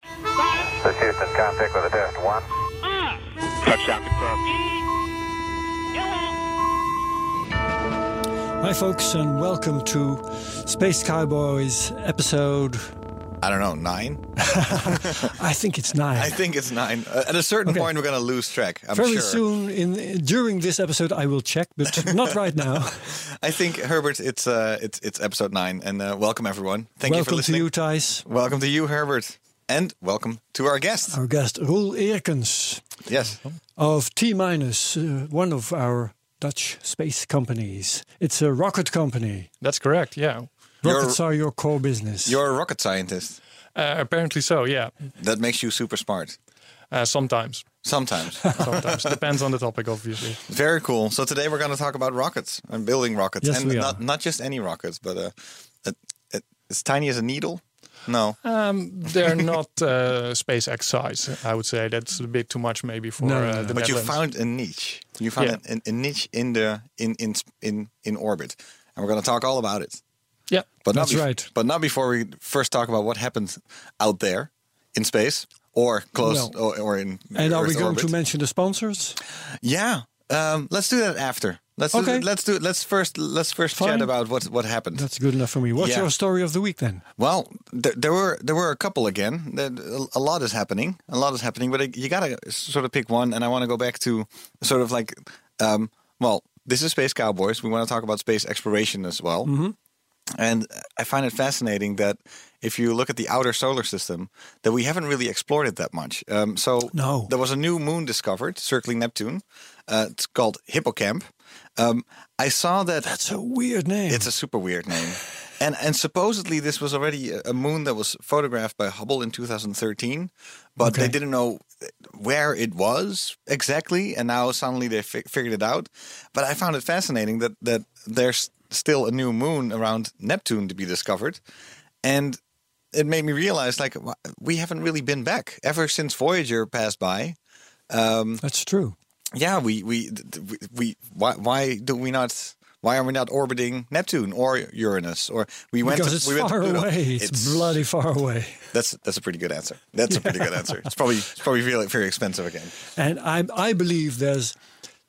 This Houston, contact with a test one. Touchdown confirmed. Hi, folks, and welcome to Space Cowboys episode. I don't know, nine? I think it's nine. I think it's nine. Uh, at a certain point, we're going to lose track, I'm Very sure. soon, in during this episode, I will check, but not right now. I think, Herbert, it's, uh, it's, it's episode nine. And uh, welcome, everyone. Thank you welcome for to listening. you, Thijs. Welcome to you, Herbert. And welcome to our guest. Our guest Roel Eerkens Yes. of T Minus, uh, one of our Dutch space companies. It's a rocket company. That's correct. Yeah. You're- Rockets are your core business. You're a rocket scientist. Uh, apparently so. Yeah. That makes you super smart. Uh, sometimes. Sometimes. Sometimes depends on the topic, obviously. Very cool. So today we're going to talk about rockets and building rockets. Yes, and we not, are. not just any rockets, but uh, it, it, as tiny as a needle. No. Um, they're not uh, SpaceX size. I would say that's a bit too much, maybe for No, no, uh, no. the But you found Netherlands. a niche. You found Yeah. an, a niche in the in in in in orbit, and we're going to talk all about it. Yeah. But not That's bef- right. But not before we first talk about what happens out there in space or close Well, or, or in. and are we Earth going to orbit. mention the sponsors? Yeah. Um, let's do that after. Let's do, Okay. that- let's do let's first let's first Fine. chat about what what happened. That's good enough for me. What's Yeah. your story of the week then? Well, there, there were there were a couple again. There- A a lot is happening. A lot is happening. But uh, you gotta sort of pick one. And I want to go back to sort of like, um, well, this is Space Cowboys. We want to talk about space exploration as well. And I find it fascinating that if you look at the outer solar system, that we haven't really explored it that much. Um, so No. there was a new moon discovered circling Neptune. Uh, it's called Hippocamp. Um, I saw that It's a weird name. it's a super weird name. And and supposedly this was already a- a moon that was photographed by Hubble in 2013, but they Okay. didn't know where it was exactly, and now suddenly they fi- figured it out. But I found it fascinating that that there's still a new moon around Neptune to be discovered, and it made me realize like wha- we haven't really been back ever since Voyager passed by. That's true. Yeah, we we th- th- we, we why why do we not why are we not orbiting Neptune or Uranus or we went Because to, it's we went to far Pluto. away. It's, bloody far away. that's that's a pretty good answer. That's a pretty good answer. It's probably it's probably really very expensive again. And I, I believe there's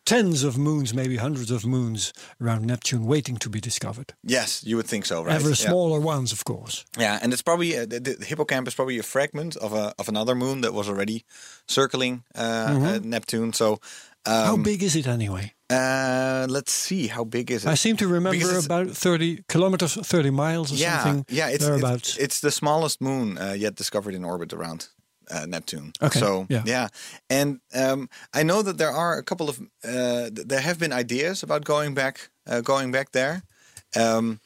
tens of moons, maybe hundreds of moons around Neptune waiting to be discovered. Yes, you would think so, right? Ever Yeah. smaller ones, of course. Yeah, and it's probably uh, the, the hippocamp is probably a fragment of a of another moon that was already circling uh, Mm-hmm. uh, Neptune. So How Um, big is it anyway? uh, let's see how big is it? I seem to Because remember it's- about 30 kilometers, 30 miles or yeah, something. Yeah, it's, thereabouts. it's it's the smallest moon uh, yet discovered in orbit around uh, Neptune. Okay, So yeah. yeah, and um, I know that there are a couple of uh, th- there have been ideas about going back uh, going back there, um,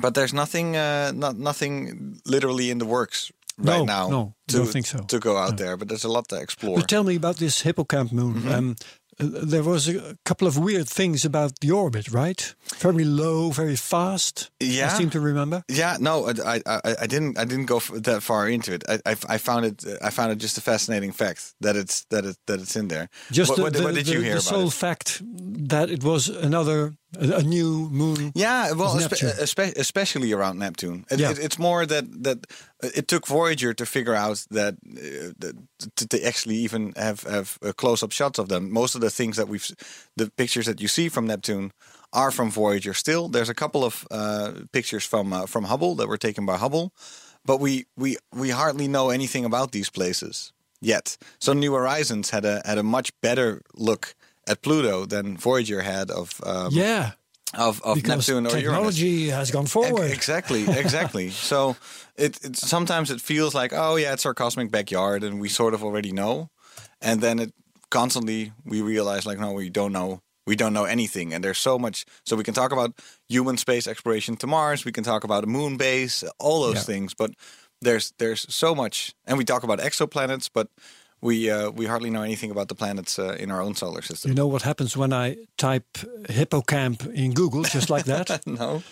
but there's nothing uh, not nothing literally in the works right No, now. no, to, don't think so. to go out there, but there's a lot to explore. But tell me about this hippocamp moon. Mm-hmm. Um, uh, there was a couple of weird things about the orbit, right? Very low, very fast. I Yeah. seem to remember. Yeah, no, I, I, I- I didn't, I didn't go f- that far into it. I, I, I found it, I found it just a fascinating fact that it's that it that it's in there. Just what, the, what, the, what did the- you hear the about sole it? fact that it was another a, a new moon. Yeah, well, of espe- uh, Neptune. espe- especially around Neptune. It, Yeah. it, it's more that that uh, it took Voyager to figure out that, uh, that to, to actually even have have uh, close up shots of them. Most of the things that we've, s- the pictures that you see from Neptune are from Voyager. Still, there's a couple of uh, pictures from uh, from Hubble that were taken by Hubble, but we we we hardly know anything about these places yet. So New Horizons had a had a much better look. At Pluto than Voyager had of um, yeah, of, of because Neptune or Uranus. technology has gone forward. Ex- Exactly, exactly. so it, it sometimes it feels like, oh yeah, it's our cosmic backyard, and we sort of already know, and then it constantly we realize like, no, we don't know, we don't know anything, and there's so much. So we can talk about human space exploration to Mars, we can talk about a moon base, all those Yeah. things, but there's there's so much, and we talk about exoplanets, but we uh, we hardly know anything about the planets uh, in our own solar system. You know what happens when I type hippocamp in Google, just like that? no.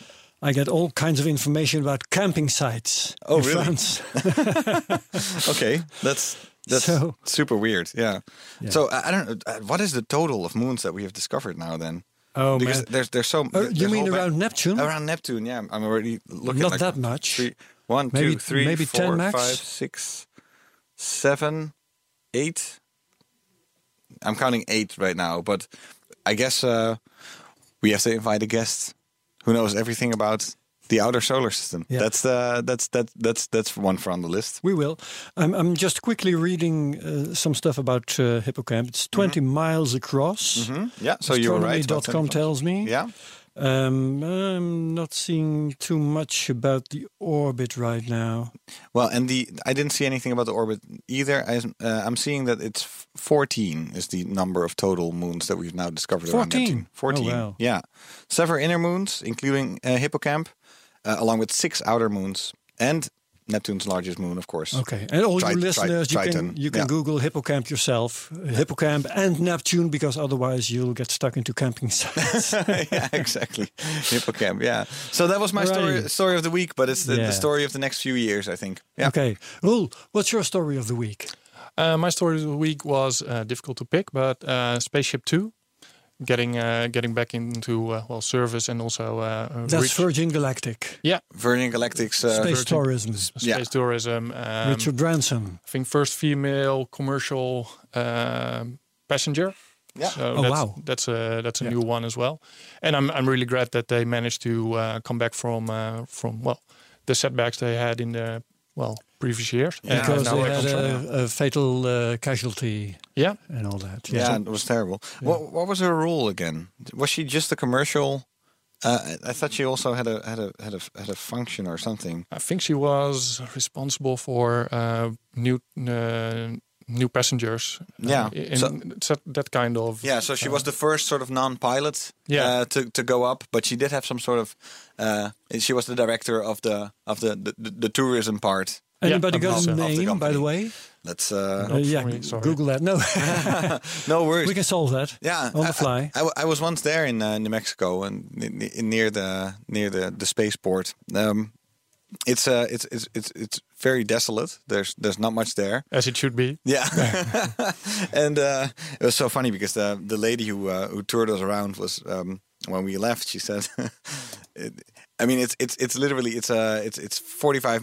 I get all kinds of information about camping sites Oh, in really? France. Okay, that's that's So- super weird. Yeah. So I, I don't. know, uh, What is the total of moons that we have discovered now? Then. Oh, because man. there's there's so. Oh, there's you mean whole ba- around Neptune? Around Neptune, yeah. I'm already looking. Not like that much. Three, one, two, Maybe- three, maybe 10 four, max. five, six, seven, eight. I'm counting eight right now, but I guess uh, we have to invite a guest who knows everything about the outer solar system. Yeah. That's uh, that's that's that's that's one for on the list. We will. I'm, I'm just quickly reading uh, some stuff about uh, hippocamp. It's 20 miles across. Yeah, Mm-hmm. so you were right. about Astronomy.com 25. tells me. Yeah. Um, I'm not seeing too much about the orbit right now. Well, and the I didn't see anything about the orbit either. I, uh, I'm seeing that it's f- 14 is the number of total moons that we've now discovered. around 14? Neptune. Oh, 14. wow. Yeah. Several inner moons, including uh, Hippocamp, uh, along with six outer moons and Neptune's largest moon, of course. Okay, and all Tri- you tri- listeners, you Triton, can you can yeah. Google hippocamp yourself, uh, hippocamp and Neptune, because otherwise you'll get stuck into camping sites. yeah, exactly. Hippocamp. Yeah. So that was my Alrighty. story story of the week, but it's the, Yeah. the story of the next few years, I think. Yeah. Okay, Roel, what's your story of the week? Uh, my story of the week was uh, difficult to pick, but uh, Spaceship Two, getting uh, getting back into uh, well service and also uh, uh, That's reach- Virgin Galactic, yeah Virgin Galactic's uh, space tourism. space Yeah. tourism. Um, Richard Branson. I think first female commercial um, passenger. Yeah. So Oh, that's, wow. That's a that's a new one as well, and I'm I'm really glad that they managed to uh, come back from uh, from well the setbacks they had in the well previous years. And Because now they they had come from- a, a fatal uh, casualty yeah, and all that. Yeah, it was terrible. What what was her role again? Was she just a commercial? Uh, I- I thought she also had a had a had a had a function or something. I think she was responsible for uh, new uh, new passengers. uh, Yeah, in so- so that kind of Yeah, so she Uh, was the first sort of non-pilot Yeah. uh, to to go up, but she did have some sort of. Uh, she was the director of the of the the, the, the tourism part. Anybody Yeah, got of a the name, by company. the way? Let's uh, Uh, yeah, me, sorry. Google that. No, no worries. we can solve that. Yeah, on I- the fly. I, I w- I was once there in uh, New Mexico and n- n- near the near the the spaceport. Um, it's uh, it's it's it's it's very desolate. There's there's not much there. as it should be. Yeah, and uh, it was so funny because the the lady who uh, who toured us around was um, when we left. She said, it, "I mean, it's it's it's literally it's uh, it's it's forty five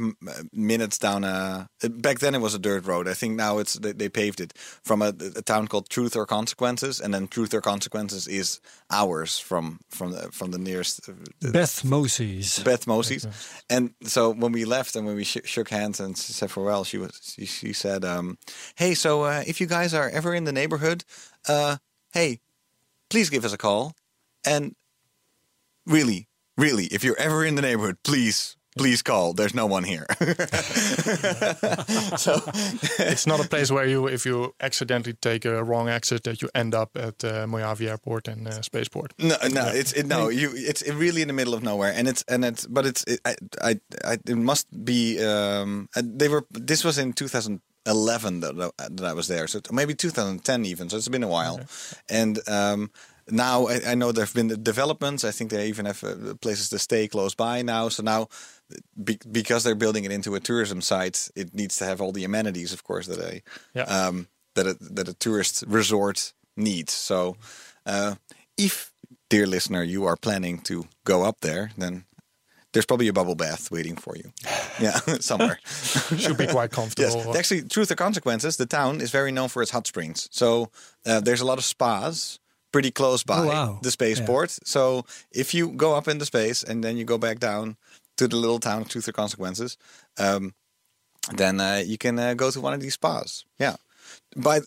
minutes down a back then it was a dirt road. I think now it's they, they paved it from a, a town called Truth or Consequences, and then Truth or Consequences is hours from from the, from the nearest uh, Beth Moses. Beth Moses. And so when we left and when we sh- shook hands and s- said farewell, she was she, she said, um, "Hey, so uh, if you guys are ever in the neighborhood, uh, hey, please give us a call." And really, really, if you're ever in the neighborhood, please. Please call. There's no one here. It's not a place where you, if you accidentally take a wrong exit, that you end up at uh, Mojave Airport and uh, Spaceport. No, no, it's it, no. You, it's it really in the middle of nowhere, and it's and it's but it's it, I, I, I, it must be. Um, uh, they were. This was in 2011 that I- that I was there, so maybe 2010 even. So it's been a while, and. Um, now I, I know there have been developments. I think they even have uh, places to stay close by now. So now, be, because they're building it into a tourism site, it needs to have all the amenities, of course, that a Yeah. um, that a, that a tourist resort needs. So, uh, if dear listener, you are planning to go up there, then there's probably a bubble bath waiting for you. Yeah, somewhere. Should be quite Yes, Oh. comfortable. actually, truth or consequences. The town is very known for its hot springs, so uh, there's a lot of spas pretty close by Oh, wow. the spaceport. So if you go up into space and then you go back down to the little town of truth or consequences, um, then uh, you can uh, go to one of these spas. Yeah, but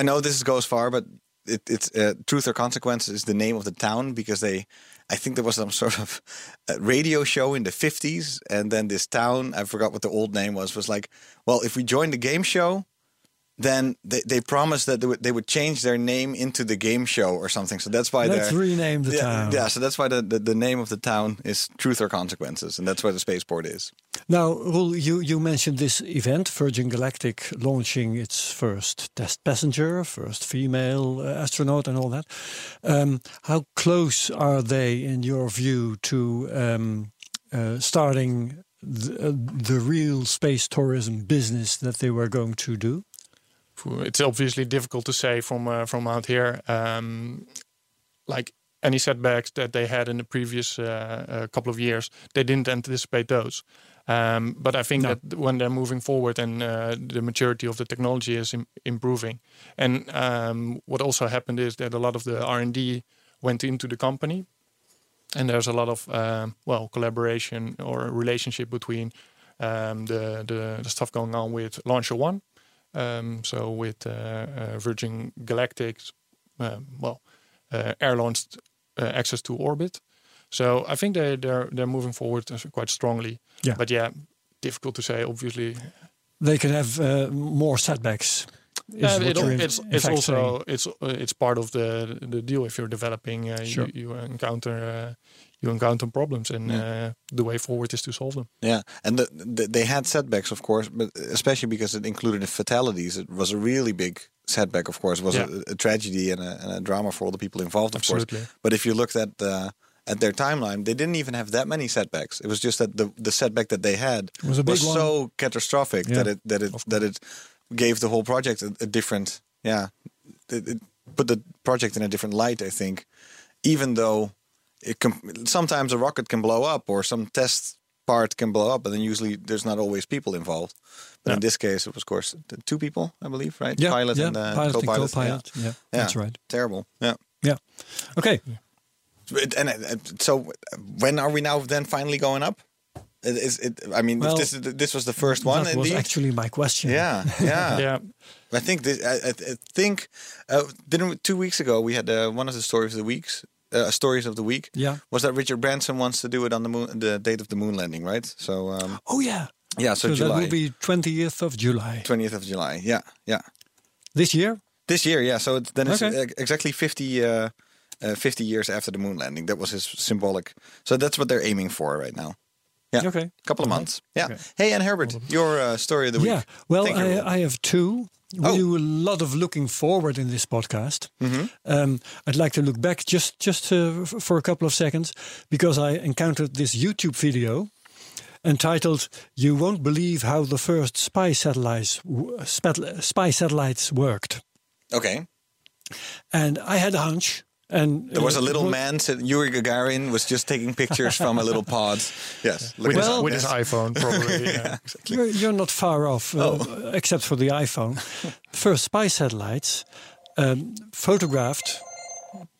I know this goes far, but it, it's uh, Truth or Consequences is the name of the town because they, I think there was some sort of uh, radio show in the 50s. And then this town, I forgot what the old name was, was like, well, if we join the game show, then they, they promised that they would, they would change their name into the game show or something. So that's why Let's they're. rename the yeah, town. yeah, so that's why the, the, the name of the town is Truth or Consequences, and that's where the spaceport is. Now, Roel, you, you mentioned this event, Virgin Galactic launching its first test passenger, first female uh, astronaut, and all that. Um, how close are they, in your view, to um, uh, starting the, uh, the real space tourism business that they were going to do? It's obviously difficult to say from uh, from out here. Um, like any setbacks that they had in the previous uh, uh, couple of years, they didn't anticipate those. Um, but I think No. that when they're moving forward and uh, the maturity of the technology is im- improving, and um, what also happened is that a lot of the R and D went into the company, and there's a lot of um, well collaboration or relationship between um, the, the the stuff going on with Launcher One, um, so with uh, uh, Virgin Galactic's um, well uh, air launched uh, access to orbit. So I think they they're they're moving forward as- quite strongly. Yeah. But yeah, difficult to say. Obviously, They can have uh, more setbacks. is Uh, what it- you're in- it's in it's fact also saying. it's uh, it's part of the the deal. If you're developing, uh, Sure. you, you encounter uh, you encounter problems, and uh, the way forward is to solve them. Yeah, and the, the, they had setbacks, of course, but especially because it included the fatalities. It was a really big setback, of course. It was Yeah. a, a tragedy and a, and a drama for all the people involved, of Absolutely. course. But if you looked at the at their timeline, they didn't even have that many setbacks. It was just that the, the setback that they had was a big one. so catastrophic that Yeah. it that it that it gave the whole project a, a different yeah it, it put the project in a different light. I think, even though it can, sometimes a rocket can blow up or some test part can blow up, but then usually there's not always people involved. But in this case, it was of course t- two people, I believe, right? Yeah, pilot yeah, and uh, pilot and co-pilot. co-pilot. Yeah, that's right. Terrible. Yeah. Yeah. Okay. It- And uh, uh, so, uh, when are we now then finally going up? It, is it, I mean, if Well, this is- this was the first one. that was indeed. actually my question. yeah, yeah, Yeah, I think this. I, I, I think uh, didn't we- two weeks ago we had uh, one of the stories of the weeks. Uh, stories of the week. Yeah. Was that Richard Branson wants to do it on the moon, the date of the moon landing, right? So um, Oh, yeah. yeah, so, that July will be 20th of July. twentieth of July. Yeah, yeah. This year? This year, yeah. So it's, then it's Okay. uh, exactly fifty. Uh, uh, 50 years after the moon landing. That was his symbolic. So that's what they're aiming for right now. Yeah. Okay. couple of months. Yeah. Hey, and Herbert, your uh, story of the week. Yeah. Well, Thank you, Roel. I, I have two. We Oh. Mm-hmm. do a lot of looking forward in this podcast. Um, I'd like to look back just just uh, f- for a couple of seconds because I encountered this YouTube video entitled "You Won't Believe How the First Spy Satellites w- Spat- Spy Satellites Worked," Okay. and I had a hunch. And There was uh, a little well, man, said Yuri Gagarin was just taking pictures from a little pod. Yes. look with, it his, up. with his Yes. iPhone probably. yeah. You're, you're not far off, uh, Oh. except for the iPhone. First spy satellites um, photographed.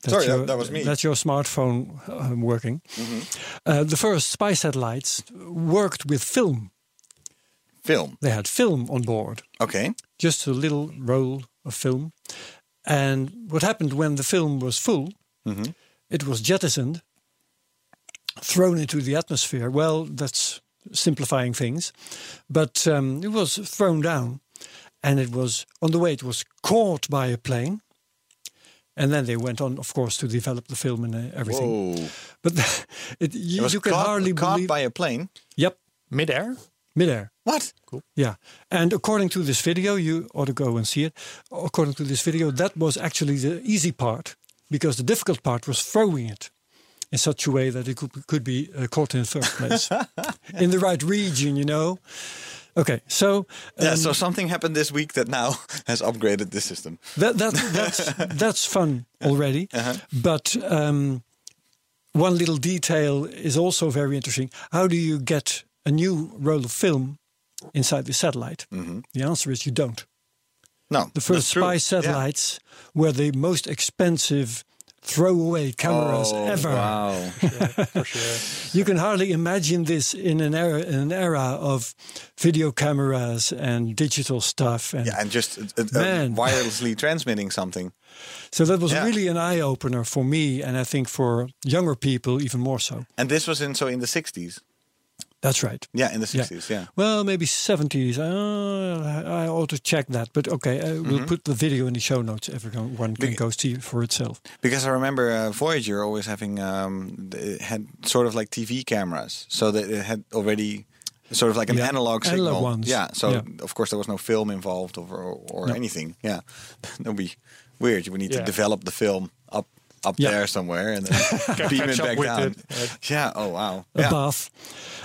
that's Sorry, that- that was me. Mm-hmm. That's your smartphone um, working. Uh, the first spy satellites worked with film. Film. They had film on board, Okay. just a little roll of film. And what happened when the film was full, Mm-hmm. it was jettisoned, thrown into the atmosphere. Well, that's simplifying things, but um, it was thrown down, and it was on the way. It was caught by a plane, and then they went on, of course, to develop the film and uh, everything. But it, It you, was you can caught, hardly caught believe. by a plane. yep, Midair. midair. What? Yeah, and according to this video, you ought to go and see it. According to this video, that was actually the easy part because the difficult part was throwing it in such a way that it could, could be uh, caught in the first place in the right region, you know. Okay, so uh, Yeah, so something happened this week that now has upgraded this system. that, that that's that's fun already, but um, one little detail is also very interesting. How do you get a new roll of film inside the satellite? The answer is you don't. No. The first that's true. spy Yeah. satellites were the most expensive throwaway cameras Oh, ever. Wow. You can hardly imagine this in an era in an era of video cameras and digital stuff. And Yeah, and just uh, uh, Man. wirelessly transmitting something. so that was Yeah. really an eye opener for me, and I think for younger people even more so. And this was in so in the 60s. That's right. Yeah, in the 60s, yeah. Well, maybe 70s. Uh, I I ought to check that. But okay, uh, we'll put the video in the show notes. Everyone can Mm-hmm. Be- go see it for itself. Because I remember uh, Voyager always having um, th- it had sort of like TV cameras, so that it had already sort of like an Yeah, analog signal. analog ones. Yeah. So Yeah. of course there was no film involved or or, or No. anything. Yeah. that would be weird. You would need to Yeah. develop the film up up Yeah. there somewhere and then beam catch it up back with down. it. Yeah. Yeah. Oh wow. A Yeah. bath.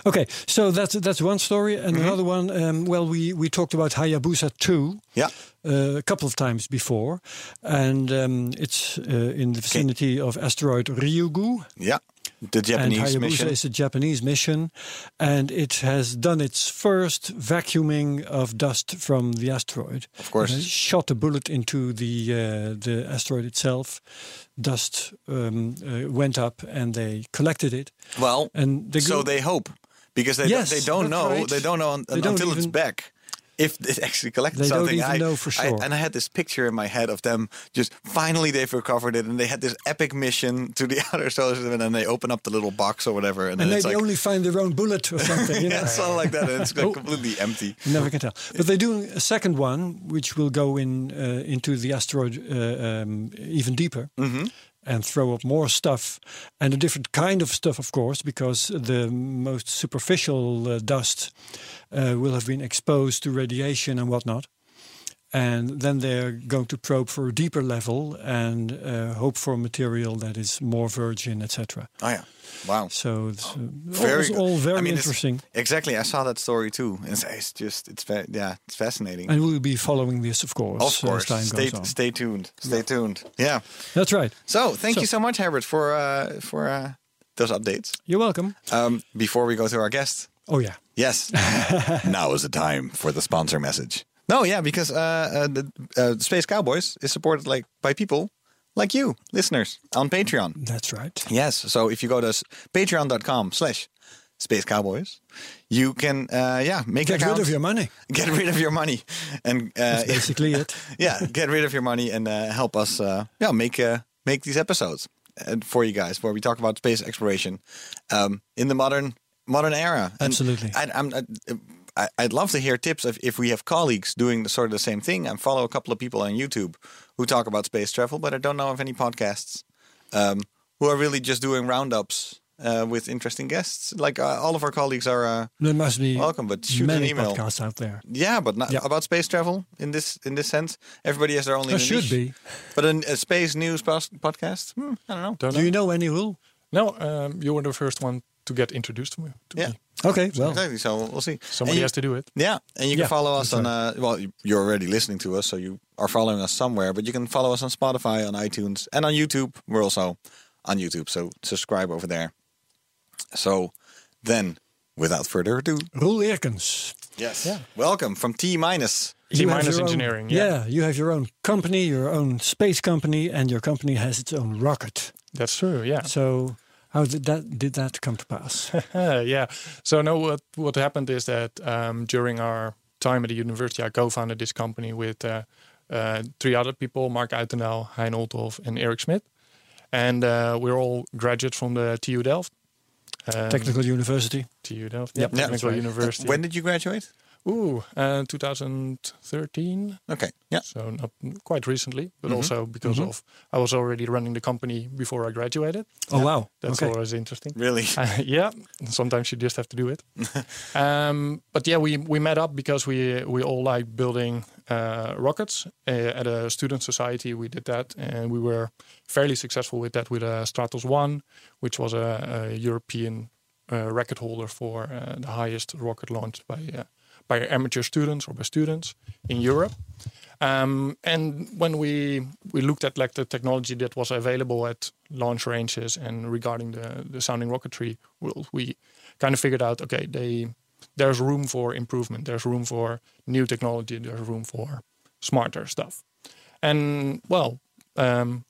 Okay, so that's that's one story, and Mm-hmm. another one. Um, well, we we talked about Hayabusa two. Yeah. uh, a couple of times before, and um, it's uh, in the vicinity of asteroid Ryugu. Yeah. The Japanese and Hayabusa mission. is a Japanese mission, and it has done its first vacuuming of dust from the asteroid. Of course. It has shot a bullet into the uh, the asteroid itself. Dust um, uh, went up, and they collected it. Well, And the so gl- they hope because they Yes, they don't that's know right. they don't know un- They don't until it's even- back if it actually collected They don't something. even I know for I- sure. and I had this picture in my head of them just finally they've recovered it and they had this epic mission to the outer solar system and then they open up the little box or whatever and, And then they it's like only Oh. find their own bullet or something. You know? yeah something like that and it's like completely empty. You Never can tell. But they're doing a second one, which will go in uh, into the asteroid uh, um, even deeper Mm-hmm. and throw up more stuff and a different kind of stuff, of course, because the most superficial uh, dust uh, will have been exposed to radiation and whatnot. And then they're going to probe for a deeper level and uh, hope for material that is more virgin, etc. Oh yeah, wow. So it's uh, Very all, good. all very I mean, it's- interesting. Exactly, I saw that story too. It's, it's just it's fa- yeah, it's fascinating. And we'll be following this, of course, of as course, time stay, goes on. stay tuned. Stay tuned. Yeah. That's right. So thank So- you so much, Herbert, for uh, for uh, those updates. You're welcome. Um, before we go to our guest, Oh yeah. yes, now is the time for the sponsor message. No, yeah, because uh, uh, the uh, Space Cowboys is supported like by people like you, listeners, on Patreon. That's right. Yes, so if you go to s- patreon.com/slash Space Cowboys, you can uh, yeah make Get an account, rid of your money. get rid of your money, and uh, Basically it. yeah, get rid of your money and uh, help us. Uh, yeah, make uh, make these episodes uh, for you guys, where we talk about space exploration um, in the modern modern era. And Absolutely. I'd, I'm, I'd, I- I'd love to hear tips of if we have colleagues doing the, sort of the same thing. I follow a couple of people on YouTube who talk about space travel, but I don't know of any podcasts um, who are really just doing roundups. Uh, with interesting guests, like uh, all of our colleagues are uh, There must be Welcome, but shoot many an email. podcasts out there. yeah, but not Yeah. about space travel in this in this sense. Everybody has their own. There little should niche. be. But an, a space news pos- podcast? Hmm, I don't know. Don't Do you know any rule? No, um, you were the first one to get introduced to me. To Yeah. me. Okay, well, Exactly. So we'll see. Somebody And you- has to do it. Yeah, and you can Yeah, follow us that's on. Uh, well, you- you're already listening to us, so you are following us somewhere. But you can follow us on Spotify, on iTunes, and on YouTube. We're also on YouTube, so subscribe over there. So then, without further ado, Roel Eerkens. yes, welcome from T minus. T You have minus your own- engineering. Yeah. you have your own company, your own space company, and your company has its own rocket. that's true. Yeah. So how did that did that come to pass? Uh, yeah. So no, what what happened is that um, during our time at the university, I co-founded this company with uh, uh, three other people: Mark Uitenau, Hein Olthoff, and Eric Smit. And uh, we're all graduates from the TU Delft. Um, Technical University. TU Delft. Yep. Yeah, Technical that's right. University. Uh, When did you graduate? Ooh, uh, 2013. Okay. Yeah. So not quite recently, but also because of I was already running the company before I graduated. Oh wow. That's okay. always interesting. Really? Uh, yeah, sometimes you just have to do it. um, but yeah, we, we met up because we we all like building uh, rockets uh, at a student society. We did that, and we were fairly successful with that with uh, Stratos One, which was a, a European uh, record holder for uh, the highest rocket launched by uh, by amateur students or by students in Europe. Um, and when we we looked at like the technology that was available at launch ranges and regarding the, the sounding rocketry world, we kind of figured out okay, they there's room for improvement, there's room for new technology, there's room for smarter stuff, and well, um,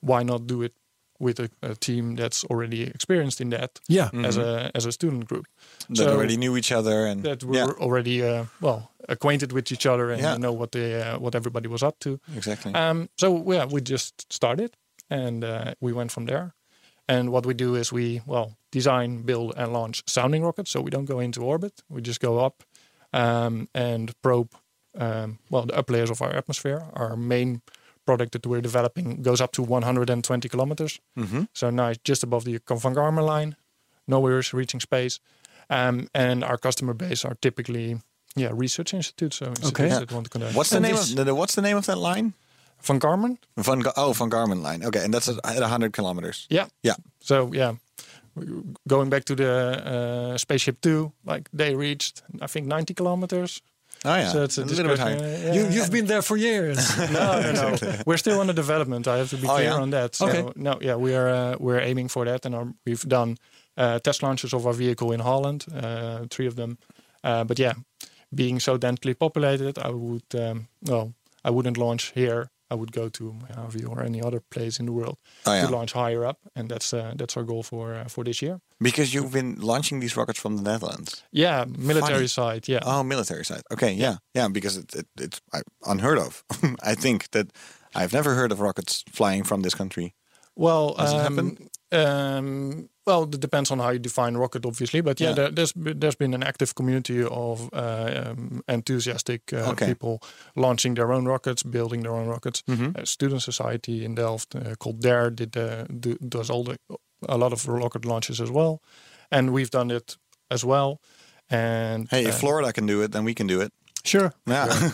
why not do it with a, a team that's already experienced in that Yeah. Mm. as a as a student group Mm-hmm. That So- already knew each other and that were yeah, already uh, well acquainted with each other and Yeah. know what they uh, what everybody was up to. exactly. Um, so yeah, we just started and uh, we went from there. And what we do is we well design, build, and launch sounding rockets. So we don't go into orbit; we just go up um, and probe. Um, well, the up layers of our atmosphere. Our main product that we're developing goes up to 120 kilometers. So now it's just above the Kofangarma line. Nowhere is reaching space. Um, and our customer base are typically yeah research institutes, so institutes Okay. that want to conduct What's the And name this- of the, the- what's the name of that line? Van Garmin. Van Ga- oh Van Garmin line. Okay, and that's at at 100 kilometers. Yeah, Yeah. So yeah, going back to the uh, spaceship two, like they reached I think 90 kilometers. Oh yeah. So it's a, little bit higher. discussion, uh, You, yeah. you've been there for years. no, no, no. We're still under development. I have to be Oh, clear yeah? on that. So, Okay. No, yeah, we are uh, we're aiming for that, and our, we've done uh, test launches of our vehicle in Holland, uh, three of them. Uh, but yeah, being so densely populated, I would um, well, I wouldn't launch here. I would go to Mojave or any other place in the world Oh, yeah. to launch higher up, and that's uh, that's our goal for uh, for this year. Because you've been launching these rockets from the Netherlands. Yeah, military Funny. side. Yeah, Oh, military side. Okay, yeah, yeah, because it, it, it's uh, unheard of. I think that I've never heard of rockets flying from this country. Well, Does it um, happen? um, well, it depends on how you define rocket, obviously. But yeah, Yeah. There, there's be- there's been an active community of uh, um, enthusiastic uh, Okay. people launching their own rockets, building their own rockets. Mm-hmm. Uh, student society in Delft uh, called Dare did uh, do, does all the a lot of rocket launches as well, and we've done it as well. And Hey, uh, if Florida can do it, then we can do it. sure, Yeah,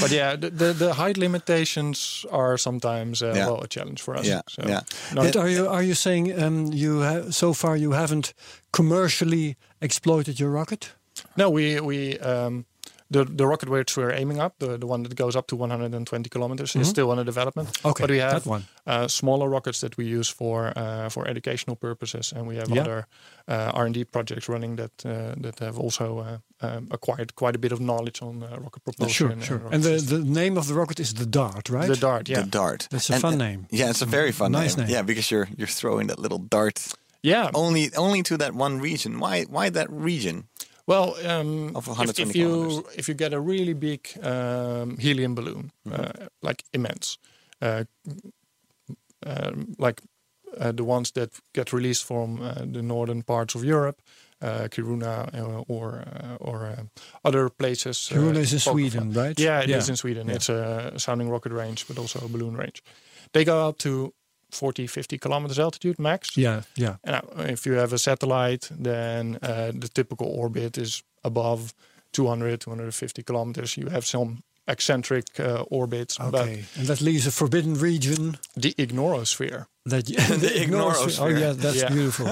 but yeah, the, the the height limitations are sometimes uh, Yeah. well a challenge for us. yeah, So, yeah. no, But are you are you saying um, you ha- so far you haven't commercially exploited your rocket? No, we we um, the the rocket which we're aiming up, the, the one that goes up to 120 kilometers, is still under development. Mm-hmm. Okay, but we have that one. Uh, smaller rockets that we use for uh, for educational purposes, and we have Yeah. other uh, R&D projects running that uh, that have also uh, um, acquired quite a bit of knowledge on uh, rocket propulsion. and rocket Oh, And the, systems. the name of the rocket is the Dart, right? the dart, yeah, The dart. That's a And- uh, fun name. Yeah, it's a very fun Nice name. Yeah, because you're you're throwing that little dart yeah. only only to that one region. Why why that region? Well, um, Of if, 120 if you kilometers. if you get a really big um, helium balloon, uh, like immense, uh, um, like uh, the ones that get released from uh, the northern parts of Europe, uh, Kiruna uh, or uh, or uh, other places. uh, Kiruna is in Pokemon. Sweden, right? Yeah, it is Yeah. in Sweden. It's a sounding rocket range, but also a balloon range. They go up to 40, 50 kilometers altitude max. Yeah, yeah. And uh, if you have a satellite, then uh, the typical orbit is above 200, 250 kilometers. You have some eccentric uh, orbits, Okay. and that leaves a forbidden region but the ignorosphere. that you, the, ignorosphere. Oh yeah, that's Yeah. beautiful.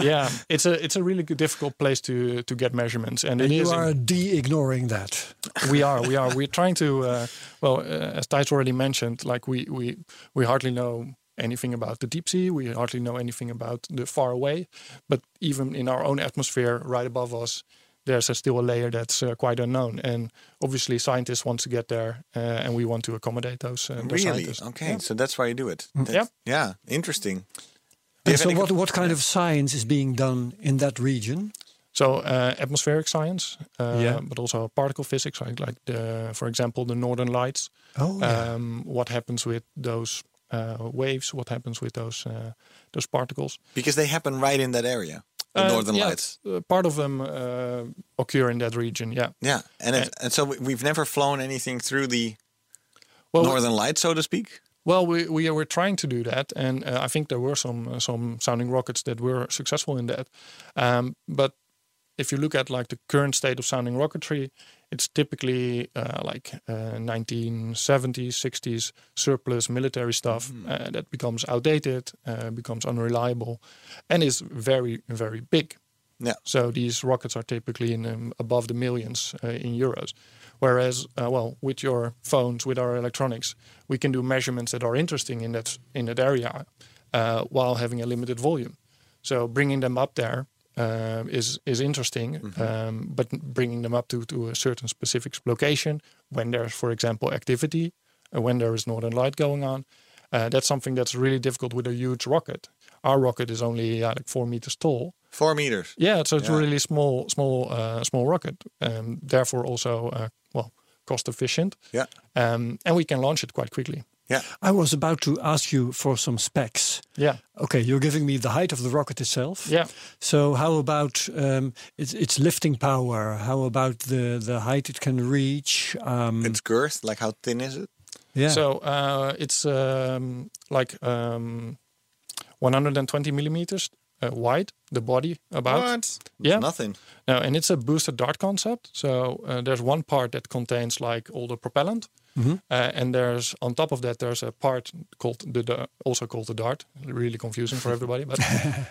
yeah, it's a it's a really good, difficult place to to get measurements, and, and it you is. are in- de-ignoring that. we are we are we're trying to uh, well uh, as Thijs already mentioned, like we we we hardly know anything about the deep sea. We hardly know anything about the far away, but even in our own atmosphere, right above us. There's a, still a layer that's uh, quite unknown, and obviously scientists want to get there, uh, and we want to accommodate those, uh, those Really? scientists. Mm-hmm. Okay, so that's why you do it. That- Yeah. Yeah, interesting. Do you And have so, any- what what kind of science is being done in that region? So uh, atmospheric science, uh, Yeah. but also particle physics, like, like the, for example, the northern lights. Oh, yeah. um, what happens with those uh, waves? What happens with those uh, those particles? Because they happen right in that area, the Uh, Northern yeah, Lights. uh, part of them uh, occur in that region. Yeah. Yeah, and it, and so we- we've never flown anything through the Well, Northern Lights, so to speak. well, we we were trying to do that, and uh, I think there were some uh, some sounding rockets that were successful in that. Um, but if you look at like the current state of sounding rocketry, it's typically uh, like uh, 1970s, 60s surplus military stuff uh, that becomes outdated, uh, becomes unreliable, and is very very big. Yeah. So these rockets are typically in um, above the millions uh, in euros. Whereas, uh, well, with your phones, with our electronics, we can do measurements that are interesting in that in that area, uh, while having a limited volume. So bringing them up there um, is is interesting, um, but bringing them up to to a certain specific location when there's, for example, activity, uh, when there is northern light going on, uh, that's something that's really difficult with a huge rocket. Our rocket is only uh, like four meters tall, Four meters. yeah, so it's a Yeah. really small, small, uh, small rocket, um, therefore also uh, well cost efficient. Yeah. um, and we can launch it quite quickly. Yeah. I was about to ask you for some specs. Yeah, Okay, you're giving me the height of the rocket itself. yeah. So how about um, its, its lifting power? How about the, the height it can reach? Um, Its girth, like how thin is it? yeah. So uh, it's um, like um, 120 millimeters uh, wide, the body about. What? Yeah. Nothing. Now, and it's a boosted dart concept. So uh, there's one part that contains like all the propellant, Mm-hmm. uh, and there's on top of that there's a part called the, da- also called the dart. Really confusing for everybody, but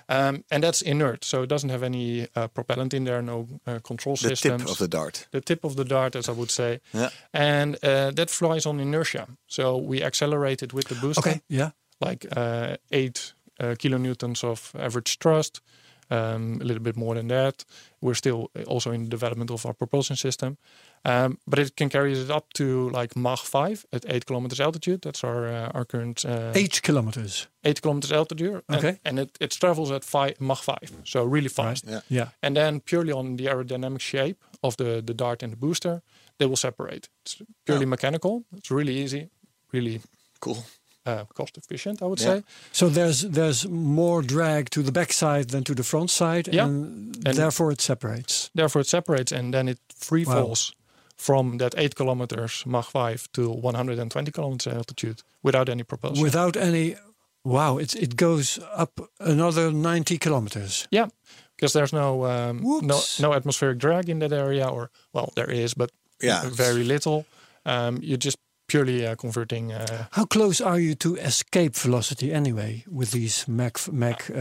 um, and that's inert, so it doesn't have any uh, propellant in there, no uh, control The systems. tip of the dart. the tip of the dart, as I would say, Yeah. and uh, that flies on inertia. So we accelerate it with the booster Okay. Yeah. like uh, eight uh, kilonewtons of average thrust, um, a little bit more than that. We're still uh, also in the development of our propulsion system, um, but it can carry it up to like Mach five at eight kilometers altitude. That's our uh, our current uh, Eight kilometers. eight kilometers altitude, and, Okay. and it, it travels at five Mach five, so really fast. Yeah. Yeah. And then purely on the aerodynamic shape of the, the dart and the booster, they will separate. It's purely mechanical. It's really easy, really Cool. uh, cost efficient, I would Yeah. say. So there's there's more drag to the backside than to the front side, Yeah. and, And- therefore it separates. therefore it separates and then it free Wow. falls from that 8 kilometers Mach 5 to 120 kilometers altitude without any propulsion. Without any, wow! It it goes up another ninety kilometers. yeah, because there's no, um, no Whoops. no atmospheric drag in that area, or well, there is, but Yeah. very little. Um, you're just purely uh, converting. Uh, How close are you to escape velocity anyway with these Mach Mach? Uh,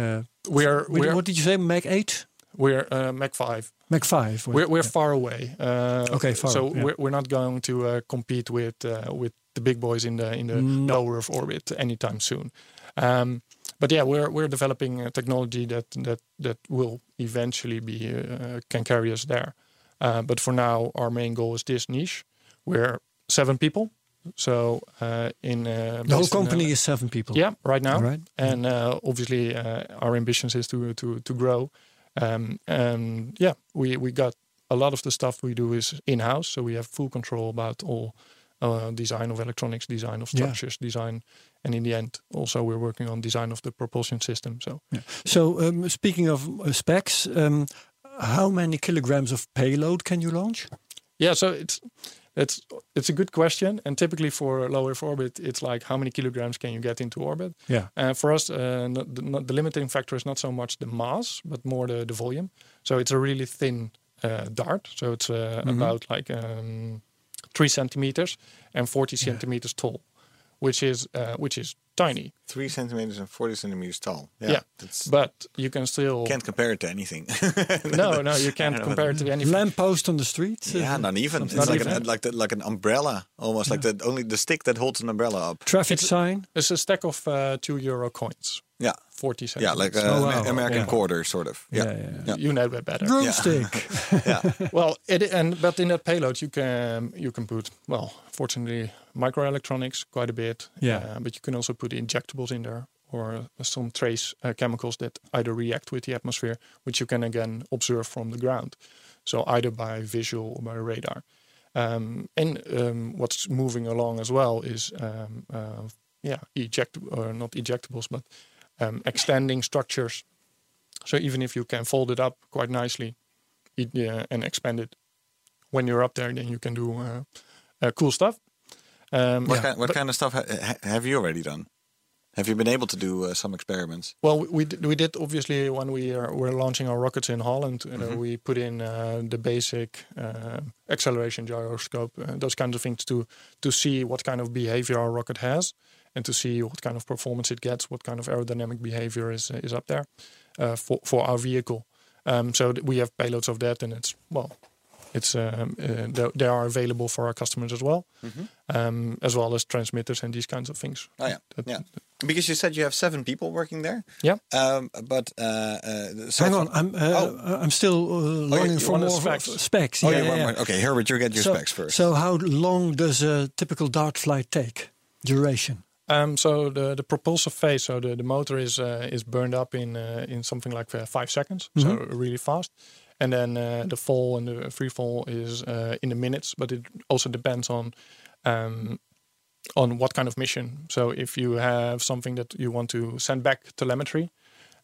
we're what- we're what did you say? Mach eight, we're uh, Mach 5. Mach five. We're we're far away. Uh, Okay, far, So yeah. we're, we're not going to uh, compete with uh, with the big boys in the in the Mm. low Earth orbit anytime soon. Um, but yeah, we're we're developing a technology that that that will eventually be uh, can carry us there. Uh, but for now, our main goal is this niche. We're seven people. So uh, in uh, the whole based in, uh, company is seven people. yeah, right now. All right. And uh, obviously, uh, our ambitions is to to to grow. Um, and yeah, we we got a lot of the stuff we do is in house, so we have full control about all uh, design of electronics, design of Yeah. structures, design, and in the end, also we're working on design of the propulsion system. So So um, speaking of uh, specs, um, how many kilograms of payload can you launch? yeah, so it's. It's it's a good question, and typically for low Earth orbit, it's like how many kilograms can you get into orbit? Yeah. Uh, for us, uh, not, the, not, the limiting factor is not so much the mass, but more the, the volume. So it's a really thin uh, dart. So it's Mm-hmm. uh, about like um, three centimeters and forty centimeters tall, which is uh, which is tiny. Three centimeters and forty centimeters tall. Yeah. Yeah. That's, But you can still can't compare it to anything. no no you can't compare it to any Lamppost on the street. Uh, yeah, not even. It's Not like even. an like the, like an umbrella, almost like the only the stick that holds an umbrella up. Traffic sign. It's a stack of uh, two euro coins, Yeah. forty cents. Yeah, like uh, Oh, Amer- wow. American Yeah. quarter, sort of. Yeah. Yeah, yeah. you know that better. Broomstick. yeah. well, it, and but in that payload you can you can put well, fortunately microelectronics quite a bit. Yeah. uh, but you can also put injectables in there or some trace uh, chemicals that either react with the atmosphere, which you can again observe from the ground. So either by visual or by radar. Um, and um, what's moving along as well is um, uh, yeah, eject or not ejectables, but um, extending structures. So even if you can fold it up quite nicely, it, uh, and expand it when you're up there, then you can do uh, uh, cool stuff. Um, What, yeah. kind, what kind of stuff ha- ha- have you already done? Have you been able to do uh, some experiments? Well, we- we did, we did obviously when we are, were launching our rockets in Holland, uh, Mm-hmm. we put in uh, the basic uh, acceleration gyroscope, uh, those kinds of things to to see what kind of behavior our rocket has, and to see what kind of performance it gets, what kind of aerodynamic behavior is is up there uh, for for our vehicle. Um, so th- we have payloads of that, and it's well, it's um, uh, they, they are available for our customers as well, um, as well as transmitters and these kinds of things. Mm-hmm. Oh yeah, That- yeah. Because you said you have seven people working there. Yeah. Um, but uh, uh, so Hang on, I'm uh, Oh. I'm still uh, longing you for wanted more specs. f- specs. Oh, yeah, yeah, yeah, one yeah. more. Okay, Herbert, you get your so, specs first. So, how long does a typical dart flight take? Duration. Um, so the, the propulsive phase, so the, the motor is uh, is burned up in uh, in something like uh, five seconds, so really fast. And then uh, the fall and the free fall is uh, in the minutes, but it also depends on um, on what kind of mission. So if you have something that you want to send back telemetry,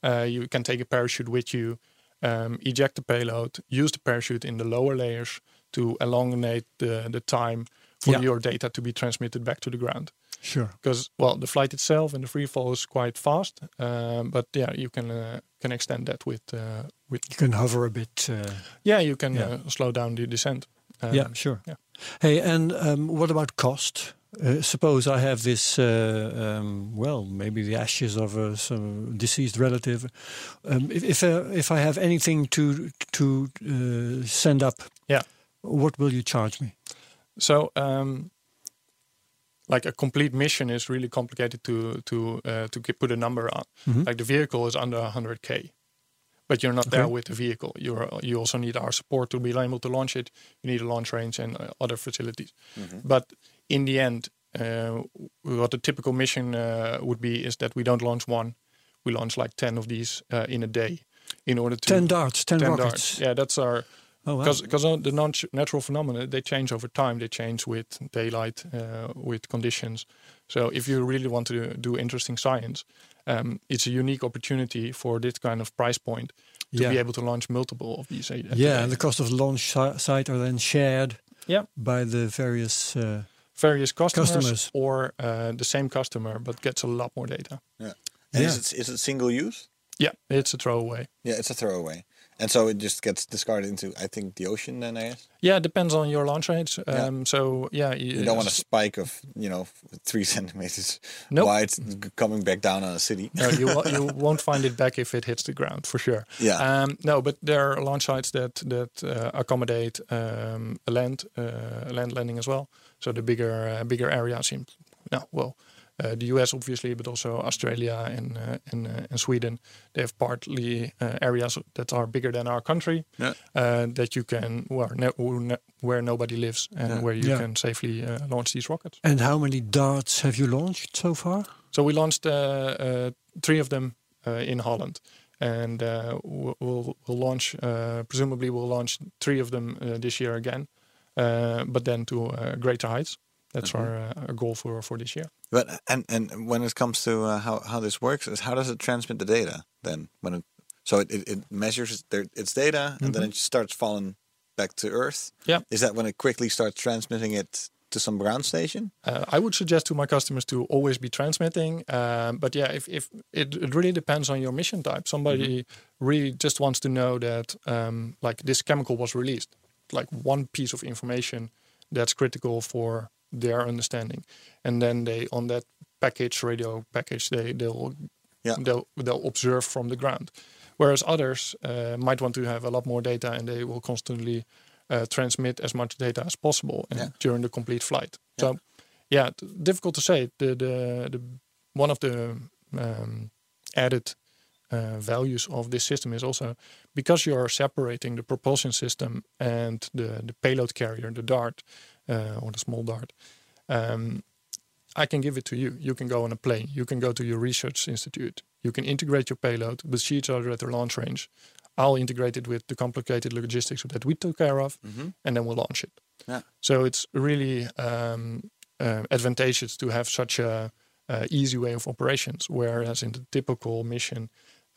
uh, you can take a parachute with you, um, eject the payload, use the parachute in the lower layers to elongate the, the time for Yeah. your data to be transmitted back to the ground. Sure. Because well, the flight itself and the free fall is quite fast, um, but yeah, you can uh, can extend that with uh, with You can hover a bit. Uh, yeah, you can Yeah. Uh, slow down the descent. Um, yeah, sure. yeah. Hey, and um, what about cost? Uh, suppose I have this, uh, um, well, maybe the ashes of uh, some deceased relative. Um, if if, uh, if I have anything to to uh, send up, Yeah. what will you charge me? So, um, like a complete mission is really complicated to to uh, to get, put a number on. Like the vehicle is under 100k, but you're not there Mm-hmm. Okay. with the vehicle. You're you also need our support to be able to launch it. You need a launch range and uh, other facilities. Mm-hmm. But in the end, uh, what a typical mission uh, would be is that we don't launch one. We launch like 10 of these uh, in a day in order to Ten darts, ten, 10 rockets. darts. Yeah, that's our. Oh, wow. Because the non- natural phenomena they change over time. They change with daylight, uh, with conditions. So if you really want to do interesting science, um, it's a unique opportunity for this kind of price point to Yeah. be able to launch multiple of these. at- at Yeah, and a the day. cost of launch si- site are then shared yeah. by the various. Uh, Various customers, Customers. or uh, the same customer, but gets a lot more data. Yeah. And Yeah. is it is it single use? Yeah, it's a throwaway. Yeah, it's a throwaway, and so it just gets discarded into I think the ocean. Then I guess Yeah, it depends on your launch range. Yeah. Um, So yeah, you don't want a spike of you know three centimeters Nope. wide coming back down on a city. no, you, wo- you won't find it back if it hits the ground for sure. Yeah. Um, no, but there are launch sites that that uh, accommodate um, a land uh, a land landing as well. So the bigger uh, bigger areas in no well. Uh, the U.S. obviously, but also Australia and uh, and, uh, and Sweden, they have partly uh, areas that are bigger than our country Yeah. uh, that you can where no, where nobody lives and where you Yeah. can safely uh, launch these rockets. and how many darts have you launched so far? So we launched uh, uh, three of them uh, in Holland, and uh, we'll, we'll we'll launch uh, presumably we'll launch three of them uh, this year again, uh, but then to uh, greater heights. That's our, uh, our goal for for this year. But and and when it comes to uh, how how this works is how does it transmit the data then when it so it, it, it measures their, its data and Mm-hmm. then it starts falling back to Earth. Yeah. is that when it quickly starts transmitting it to some ground station? Uh, I would suggest to my customers to always be transmitting. Um, but yeah, if, if it, it really depends on your mission type. Somebody Mm-hmm. really just wants to know that um, like this chemical was released, like one piece of information that's critical for their understanding, and then they on that package radio package they they'll Yeah. they'll they'll observe from the ground. Whereas others uh, might want to have a lot more data and they will constantly uh, transmit as much data as possible and Yeah. during the complete flight. So, yeah, t- difficult to say. The the, the one of the um, added uh, values of this system is also because you are separating the propulsion system and the the payload carrier, the dart uh, or the small dart. Um, I can give it to you. You can go on a plane. You can go to your research institute. You can integrate your payload. The sheets are at the launch range. I'll integrate it with the complicated logistics that we took care of, and then we'll launch it. Yeah. So it's really um, uh, advantageous to have such a, uh easy way of operations. Whereas in the typical mission,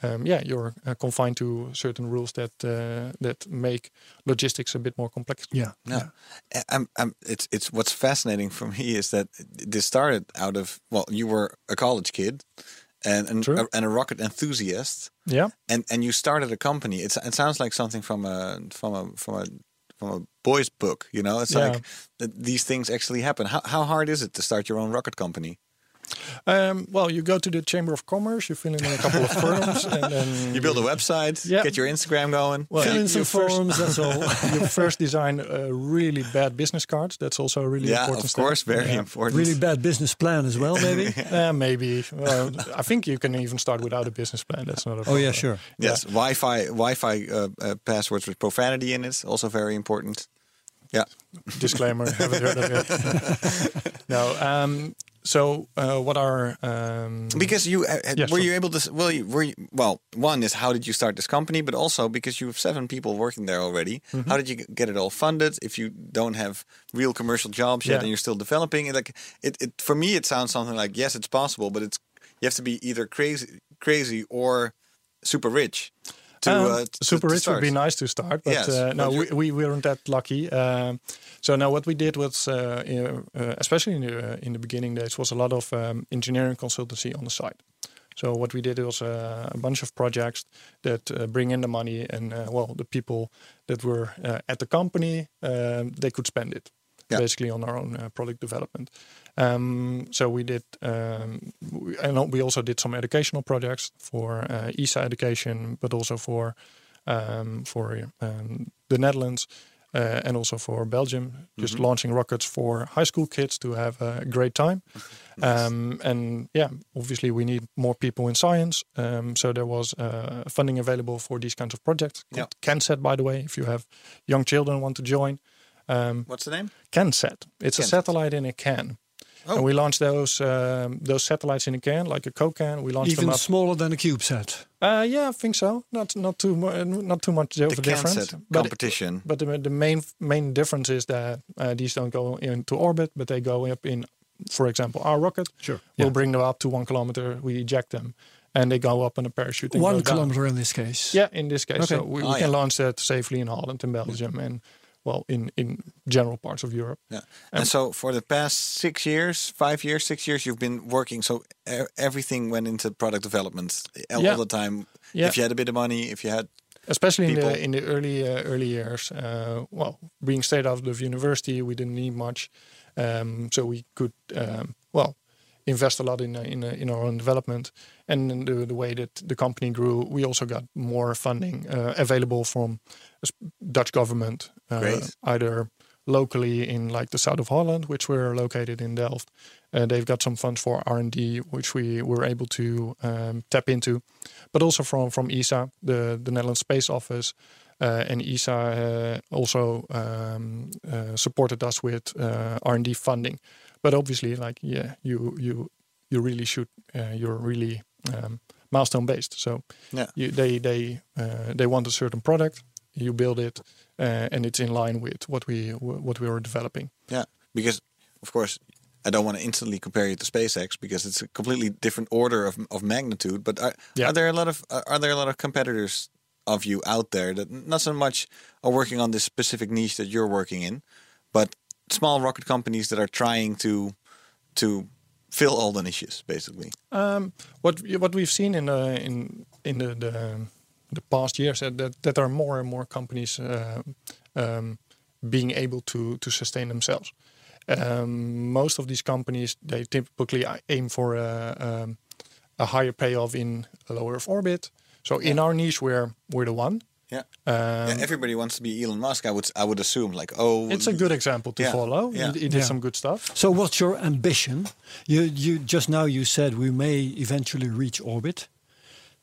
um, yeah, you're uh, confined to certain rules that uh, that make logistics a bit more complex. Yeah. No, I- I'm, I'm, it's, it's what's fascinating for me is that this started out of well, you were a college kid, and and, True. and a rocket enthusiast, Yeah. and and you started a company. It's, it sounds like something from a from a from a from a boy's book. You know, it's Yeah. like th- these things actually happen. How how hard is it to start your own rocket company? Um, well, you go to the chamber of commerce. You fill in a couple of forms, and then You build a website, Yeah. get your Instagram going. Well, Fill you- in some you first- forms, that's all. you first design a really bad business card. That's also a really yeah, important. of step. course, very Yeah. important. really bad business plan as well, maybe? Uh, maybe. Well, I think you can even start without a business plan. That's not a oh, problem. yeah, sure. Yes, Wi-Fi Wi-Fi uh, uh, passwords with profanity in it also very important. Yeah. Disclaimer. haven't heard of it. no. Um, so uh, what are um, Because you uh, uh, Yeah, were sure. you able to s- well you, were you, well one is how did you start this company but also because you have seven people working there already Mm-hmm. how did you g- get it all funded if you don't have real commercial jobs yet Yeah. and you're still developing it like it, it for me it sounds something like yes it's possible but it's you have to be either crazy crazy or super rich to Um, uh, t- super to rich start. would be nice to start, but Yes, uh, no, but we, you- we weren't that lucky. Um so now what we did was, uh, in- uh, especially in the in the beginning days, was a lot of um, engineering consultancy on the side. So what we did was uh, a bunch of projects that uh, bring in the money, and uh, well, the people that were uh, at the company um, they could spend it. Yeah. Basically, on our own uh, product development. Um, so we did, um, we- and we also did some educational projects for uh, ESA education, but also for um, for um, the Netherlands uh, and also for Belgium. Just Mm-hmm. launching rockets for high school kids to have a great time. Um, and yeah, obviously we need more people in science. Um, so there was uh, funding available for these kinds of projects. Yeah. CanSat, by the way, if you have young children want to join. Um, What's the name? CanSat. It's a CanSat. satellite in a can. Oh. And we launched those um, those satellites in a can, like a Coke can. We launched Even them up. smaller than a CubeSat. Uh, yeah, I think so. Not not too mu- uh, not too much of The a difference. CanSat But competition. but the, the main main difference is that uh, these don't go into orbit, but they go up in, for example, our rocket. Sure. We'll Yeah. bring them up to one kilometer. We eject them, and they go up in a parachute. and One go down. kilometer in this case. Yeah, in this case, Okay. so we, Ah, we can yeah. launch that safely in Holland and Belgium and well in in general parts of Europe. Yeah. And so for the past six years, five years, six years, you've been working. So e- everything went into product development all, Yeah. all the time. Yeah. If you had a bit of money, if you had especially in people. the in the early uh, early years. Uh, well, being straight out of university, we didn't need much, um, so we could um, well invest a lot in uh, in, uh, in our own development. And in the, the way that the company grew, we also got more funding uh, available from s- Dutch government, uh, Great. either locally in like the south of Holland, which we're located in Delft. Uh, they've got some funds for R and D, which we were able to um, tap into, but also from from ESA, the the Netherlands Space Office, uh, and ESA uh, also um, uh, supported us with uh, R and D funding. But obviously, like yeah, you you you really should uh, you're really um, milestone based. So Yeah. you, they they uh, they want a certain product, you build it, uh, and it's in line with what we what we were developing. Yeah, because of course I don't want to instantly compare you to SpaceX because it's a completely different order of, of magnitude. But are, Yeah. are there a lot of are are there a lot of competitors of you out there that not so much are working on this specific niche that you're working in, but small rocket companies that are trying to to fill all the niches basically. Um, what what we've seen in the in in the the, the past years that, that that there are more and more companies uh, um, being able to to sustain themselves. Um, most of these companies they typically aim for a, um, a higher payoff in a lower Earth orbit. So in our niche, we're we're the one. Yeah. Um, yeah, everybody wants to be Elon Musk. I would I would assume like oh it's a good example to Yeah, follow. yeah. It, it did Yeah. some good stuff. So what's your ambition? You you just now you said we may eventually reach orbit.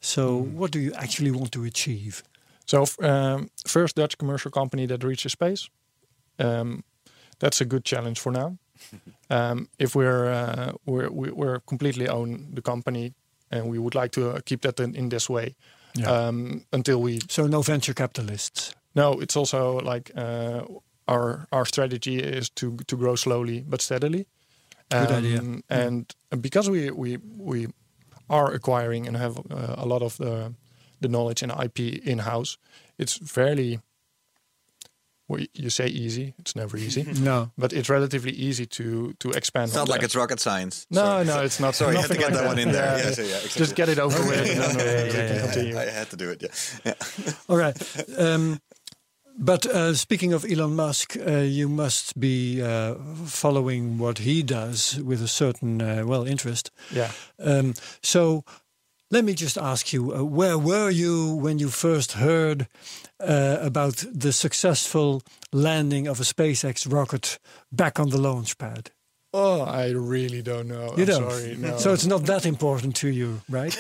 So what do you actually want to achieve? So, f- um, first Dutch commercial company that reaches space. Um, that's a good challenge for now. Um, if we're, uh, we're we- we're completely own the company, and we would like to uh, keep that in, in this way um, until we Uh, So no venture capitalists. no, it's also like uh, our our strategy is to to grow slowly but steadily. Um, Good idea. And because we we we are acquiring and have uh, a lot of the the knowledge and IP in house, it's fairly. Well, you say easy, it's never easy. No. but it's relatively easy to to expand. It's on not like that. it's rocket science. No, Sorry. no, it's not. Sorry, I had to nothing get like that one in there. Yeah, Yeah, just- so yeah, exactly. Just get it over with. and then we- we can continue. I had to do it. Yeah. All right. Um, but uh, speaking of Elon Musk, uh, you must be uh, following what he does with a certain uh, well interest. Yeah. Um, so let me just ask you, uh, where were you when you first heard uh, about the successful landing of a SpaceX rocket back on the launch pad? Oh, I really don't know. You Oh, I'm don't. Sorry, no. So it's not that important to you, right?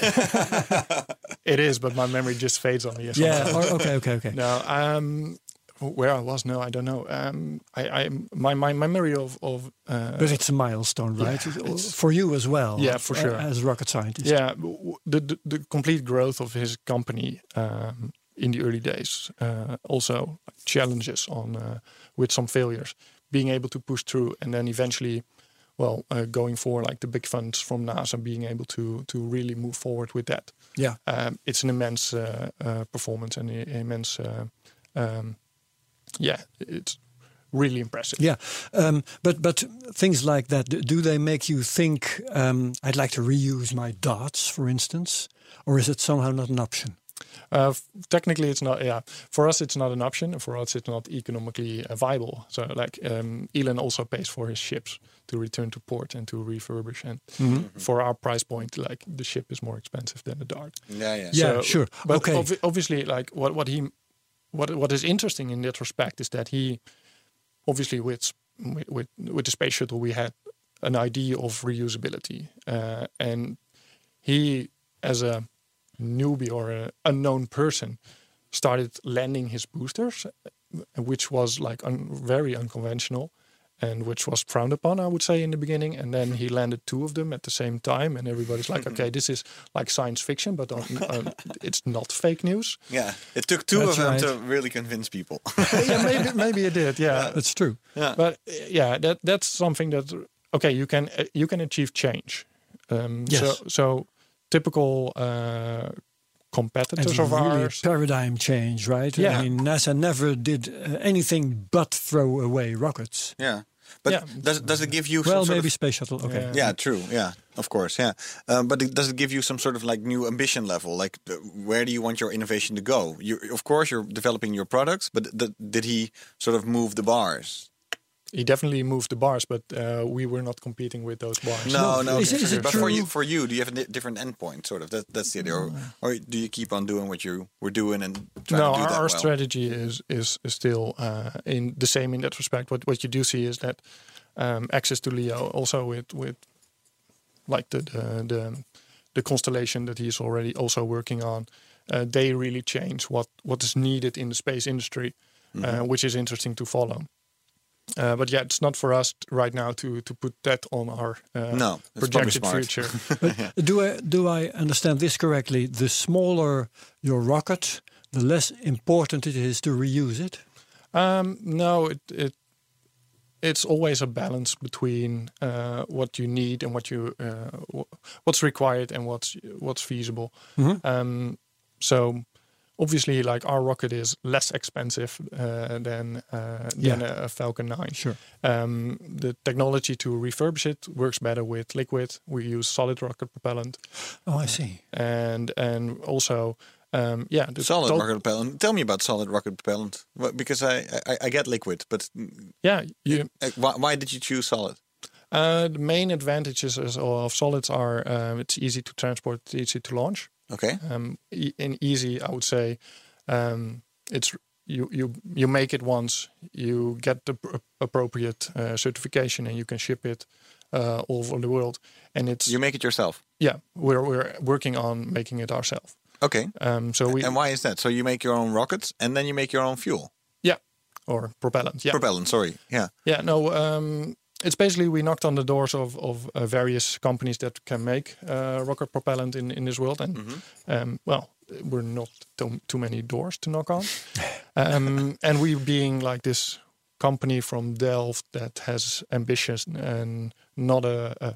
It is, but my memory just fades on me. yeah. Or, okay. Okay. Okay. No. Um, where I was? No, I don't know. Um, I, I, my, my memory of of uh, But it's a milestone, right? it's- for you as well. Yeah, for uh, sure. As a rocket scientist. yeah, w- w- the, the the complete growth of his company um, in the early days, uh, also challenges on uh, with some failures, being able to push through, and then eventually, well, uh, going for like the big funds from NASA being able to to really move forward with that. Yeah. Um, it's an immense uh, uh, performance and i- immense. Uh, um, yeah, it's really impressive. Yeah, um, but but things like that d- do they make you think? Um, I'd like to reuse my darts, for instance, or is it somehow not an option? Uh, f- technically, it's not. Yeah, for us, it's not an option. For us, it's not economically uh, viable. So, like, um, Elon also pays for his ships to return to port and to refurbish. And for our price point, like, the ship is more expensive than the Dart. Yeah, yeah. Yeah. So- sure. But Okay. obvi- obviously, like what what he what what is interesting in that respect is that he obviously with s- with with, with the space shuttle we had an idea of reusability uh, and he as a newbie or a unknown person started landing his boosters uh, which was like un, very unconventional and which was frowned upon i would say in the beginning and then he landed two of them at the same time and everybody's like okay this is like science fiction but on, on, it's not fake news Yeah, it took two That's of them right. to really convince people. yeah maybe maybe it did yeah That's true. but uh, yeah that that's something that okay you can uh, you can achieve change um Yes. so so typical uh And competitors of really a ours paradigm change, right? Yeah. I mean, NASA never did uh, anything but throw away rockets. yeah, but Yeah. does does it give Well, you some sort maybe of space shuttle. Okay. Yeah. yeah, true. Yeah, of course. Yeah, um, but it, does it give you some sort of like new ambition level? Like, uh, where do you want your innovation to go? You, of course, you're developing your products, but th- did he sort of move the bars? he definitely moved the bars but uh we were not competing with those bars No, no. Is it- is it but for you, true? for you, do you have a di- different endpoint? Sort of. That, that's the idea. Or, or do you keep on doing what you were doing and trying no, to do our, that our well? strategy is is is still uh, in the same in that respect. What what you do see is that um, access to Leo also with with like the the the, the constellation that he's already also working on. Uh, they really change what what is needed in the space industry, Mm-hmm. uh, which is interesting to follow. Uh, but yeah, it's not for us t- right now to to put that on our uh, No, it's probably projected smart. future. Do I do I understand this correctly? The smaller your rocket, the less important it is to reuse it. Um, no, it, it it's always a balance between uh, what you need and what you uh, wh- what's required and what's what's feasible. Mm-hmm. Um, so obviously, like our rocket is less expensive uh, than uh, than Yeah. a, a Falcon Nine. Sure. Um, the technology to refurbish it works better with liquid. We use solid rocket propellant, Oh, I see. and and also. Um, yeah, the Solid tot- rocket propellant. Tell me about solid rocket propellant. Wha- Because I, I, I get liquid, but mm, Yeah, you, uh, why, why did you choose solid? Uh, the main advantages is- of solids are um, it's easy to transport, it's easy to launch. Okay. Um, e- and easy, I would say, um, it's you you you make it once, you get the pr- appropriate uh, certification, and you can ship it uh, all over the world. And it's You make it yourself. yeah, we're we're working on making it ourselves. Okay. Um, so we and why is that? So you make your own rockets and then you make your own fuel. yeah, or propellant, yeah, Propellant, sorry. Yeah. Yeah, no. Um, it's basically we knocked on the doors of of uh, various companies that can make uh, rocket propellant in in this world, and um, well, we're not too, too many doors to knock on. um, and we being like this company from Delft that has ambitions and not a, a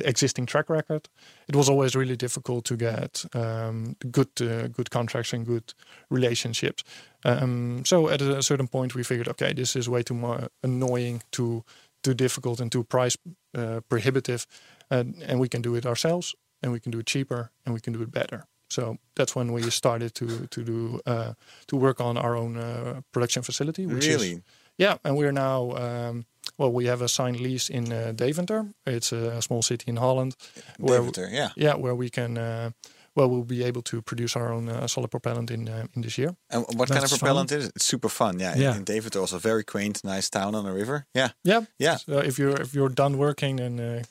existing track record, it was always really difficult to get um, good uh, good contracts and good relationships. Um, so at a certain point, we figured, okay, this is way too mu- annoying, too too difficult, and too price uh, prohibitive, and, and we can do it ourselves, and we can do it cheaper, and we can do it better. So that's when we started to to do uh, to work on our own uh, production facility. Which is- Really? yeah, and we're now um, well, we have a signed lease in uh, Deventer. It's a small city in Holland. where- Deventer, yeah. yeah, where we can uh, well, we'll be able to produce our own uh, solid propellant in uh, in this year. And what kind of That's fun. propellant is it? It's super fun. Yeah. Yeah. In Deventer also very quaint, nice town on the river. Yeah. Yeah, Yeah. So if you're if you're done working, then uh,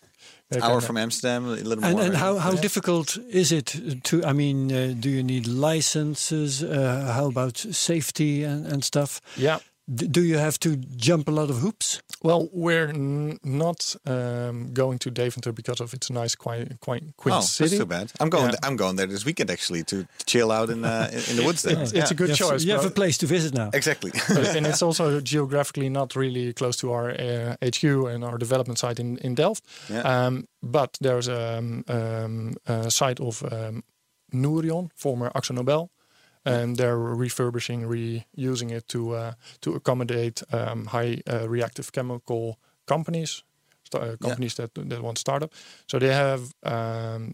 they Hour can- from Amsterdam, a little And, more. and how, how Yeah. difficult is it to? I mean, uh, do you need licenses? Uh, how about safety and, and stuff? yeah. D- do you have to jump a lot of hoops? Well, we're n- not um, going to Deventer because of its nice, quiet, quiet, quiet oh, city. that's too bad. I'm going. Yeah. th- I'm going there this weekend actually to chill out in uh, in, in the woods. There. It's, Yeah. it's a good you have, choice. You have but- a place to visit now. Exactly. but- and it's also geographically not really close to our uh, HQ and our development site in, in Delft. Yeah. Um, but there's a um, um, uh, site of um, Nourion, former Axo Nobel, and they're refurbishing, reusing it to uh, to accommodate um, high uh, reactive chemical companies, sta- uh, companies that that want startup. So they have um,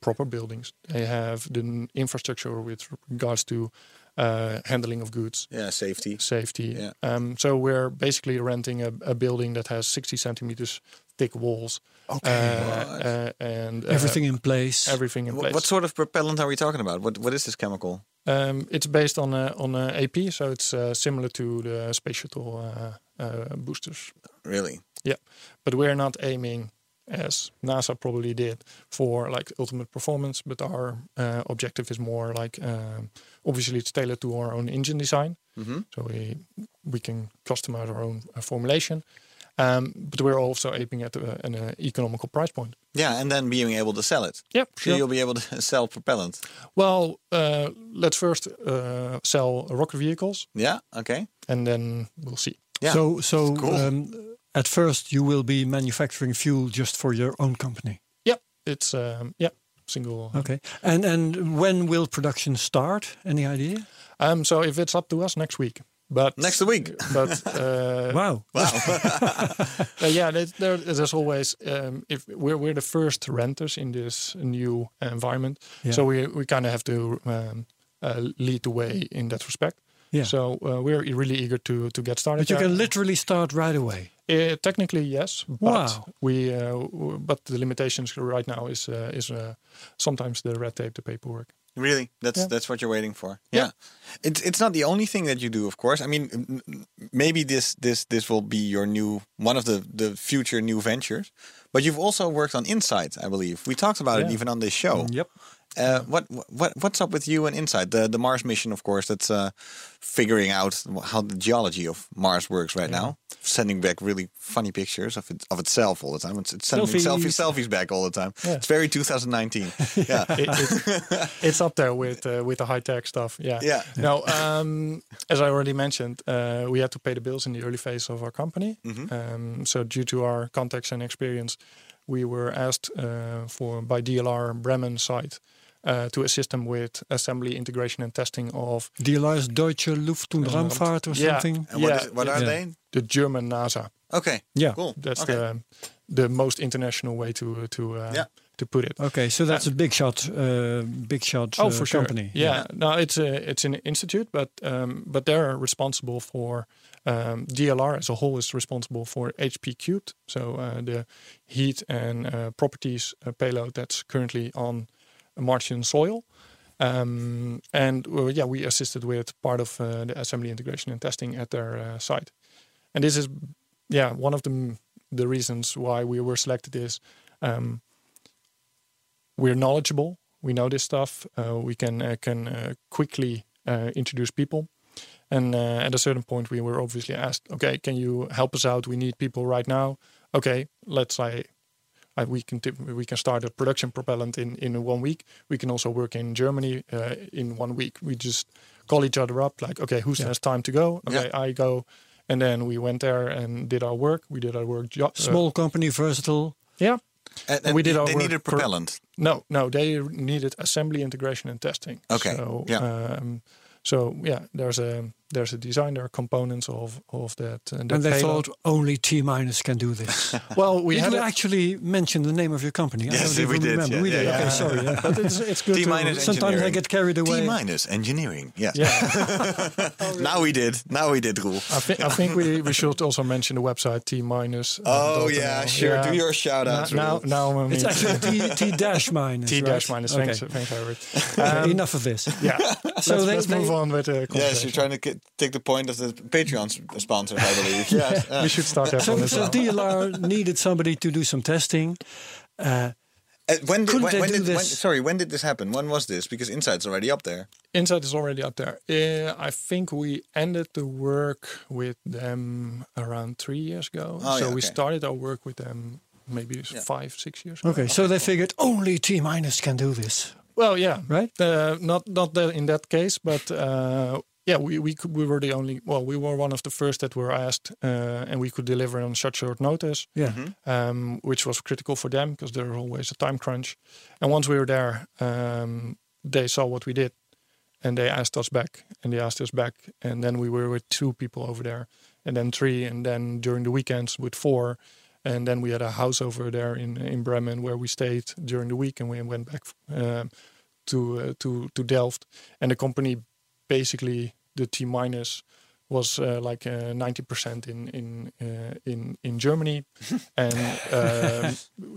proper buildings. They have the n- infrastructure with regards to uh, handling of goods yeah, safety. safety. Yeah. Um, so we're basically renting a, a building that has 60 centimeters thick walls. Okay, uh, what? uh, and uh, Everything in place. everything in Wh- place. What sort of propellant are we talking about? What What is this chemical? um, it's based on uh, on uh, AP, so it's uh, similar to the space shuttle uh, uh, boosters. Really? Yeah, but we're not aiming as NASA probably did for like ultimate performance, but our uh, objective is more like um, obviously it's tailored to our own engine design, Mm-hmm. so we we can customize our own uh, formulation. Um, but we're also aiming at uh, an uh, economical price point. Yeah, and then being able to sell it. Yeah, So you'll be able to sell propellant. Well, uh, let's first uh, sell rocket vehicles, Yeah. Okay. and then we'll see. Yeah. So, so Cool. um, at first, you will be manufacturing fuel just for your own company. Yeah, it's um, yeah single. Okay. And and when will production start? Any idea? Um, so if it's up to us next week, but Next week. but uh, Wow. uh, yeah, there's, there, there's always um, if we're we're the first renters in this new environment, Yeah. so we we kind of have to um, uh, lead the way in that respect. Yeah. So uh, we're really eager to to get started. But you Uh, can literally start right away. Uh, technically, yes. But Wow. We, uh, w- but the limitations right now is uh, is uh, sometimes the red tape, the paperwork. Really? That's Yeah. that's what you're waiting for. Yeah. Yeah. It's it's not the only thing that you do, of course. I mean, m- m- maybe this this this will be your new one of the the future new ventures. But you've also worked on Insight, I believe. We talked about it Yeah. even on this show. Mm, Yep. Uh, what what what's up with you and Insight? The the Mars mission, of course. That's uh, figuring out how the geology of Mars works right now. Sending back really funny pictures of it, of itself all the time. It's, it's sending selfies. Selfies. selfies back all the time. Yeah. It's very 2019. yeah. It, it- it's up there with uh, with the high tech stuff. Yeah. Yeah. Now, um, as I already mentioned, uh, we had to pay the bills in the early phase of our company. Mm-hmm. Um, so, due to our contacts and experience, we were asked uh, for by DLR Bremen site. Uh, to assist them with assembly, integration, and testing of DLR's Deutsche Luft- und Raumfahrt or Yeah. something. And what, Yeah. is, what are Yeah. they? the German NASA. Okay. Yeah. Cool. That's okay. the the most international way to to uh, Yeah. to put it. Okay, so that's a big shot, uh, big shot Oh, uh, company. Yeah. no, it's a it's an institute, but um, but they're responsible for um, DLR as a whole is responsible for HP cubed, so uh, the heat and uh, properties uh, payload that's currently on Martian soil. Um, and uh, yeah, we assisted with part of uh, the assembly integration and testing at their uh, site. And this is yeah one of the m- the reasons why we were selected is um, we're knowledgeable. We know this stuff. Uh, we can uh, can uh, quickly uh, introduce people. And uh, at a certain point, we were obviously asked, "Okay, can you help us out? We need people right now." Okay, let's say uh, we can tip we can start a production propellant in in one week. We can also work in Germany uh, in one week. We just call each other up, like, "Okay, who has time to go? Okay, I go." And then we went there and did our work. We did our work. Jo- uh, Small company, versatile. yeah. And, and We did they- our they work needed for- propellant. No, no, they needed assembly, integration, and testing. Okay, So, yeah. Um, so yeah, there's a there's a design, there are components of of that. Uh, that And they payload. thought only T minus can do this. well, we We had had it, actually mentioned the name of your company. I Yes, don't we even did, remember. yeah, we yeah, did. yeah. Okay, sorry. yeah. But it's, it's good. T to- minus sometimes I get carried away. T minus engineering. Yeah. yeah. now we did. Now we did, Roel. I, thi- I think we, we should also mention the website uh, T minus. Oh yeah, sure. Do your shout outs. now. Now, now It's actually T, T dash minus. T dash right? minus. Okay. Thanks, thanks, Howard. Okay, enough of this. Yeah. So let's, they- let's they- move on with the Yes, conversation. you're trying to ki- take the point of the Patreon s- sponsors, I believe. yes. we should start that So, one as so well. DLR needed somebody to do some testing. Uh, when did, Couldn't when, they when do did this? When, sorry, when did this happen? When was this? Because Inside's already up there. Insight is already up there. Uh, I think we ended the work with them around three years ago. Oh, so yeah, we okay. started our work with them maybe five, six years ago. Okay, so they figured only T minus can do this. Well, yeah, Right? Uh, not not that in that case, but uh, yeah, we we could, we were the only. Well, we were one of the first that were asked, uh, and we could deliver on such short notice, Yeah. um, which was critical for them because there's always a time crunch. And once we were there, um, they saw what we did, and they asked us back, and they asked us back, and then we were with two people over there, and then three, and then during the weekends with four. And then we had a house over there in in Bremen where we stayed during the week, and we went back um, to uh, to to Delft, and the company basically the T minus was uh, like ninety percent in in uh, in in Germany, and um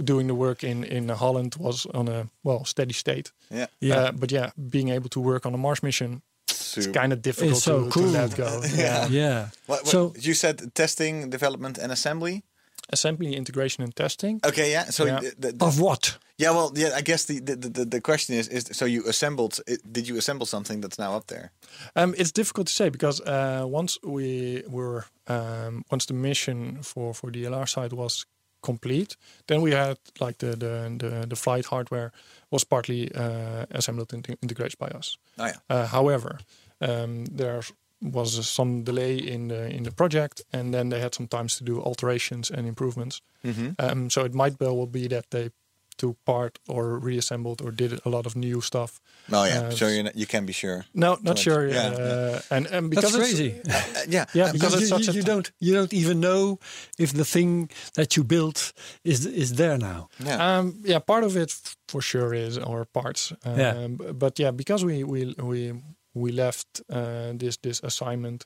doing the work in in Holland was on a well steady state. Yeah. Yeah. Uh, but yeah, being able to work on a Mars mission, it's Super. kind of difficult It's so to, cool. to let go. Yeah. What, what, So- you said testing, development, and assembly. Assembly, integration, and testing. Okay, yeah. So Yeah. th- th- Of what? yeah, well, yeah. I guess the the, the, the question is is so you assembled? it- Did you assemble something that's now up there? Um, it's difficult to say because uh, once we were um, once the mission for for the LR side was complete, then we had like the the the, the flight hardware was partly uh, assembled and integrated by us. Oh yeah. Uh, however, um, there was some delay in the in the project, and then they had some times to do alterations and improvements. Mm-hmm. Um, so it might well be that they took part or reassembled or did a lot of new stuff. Oh yeah. Uh, so you you can be sure. No, not sure. Yeah, uh, And, and because That's crazy. it's- Uh, yeah. Yeah, um, because you, it's you- such a you t- don't you don't even know if the thing that you built is is there now. yeah. Um, yeah, part of it f- for sure is or parts. Um, Yeah. b- But yeah, because we we we we left uh, this this assignment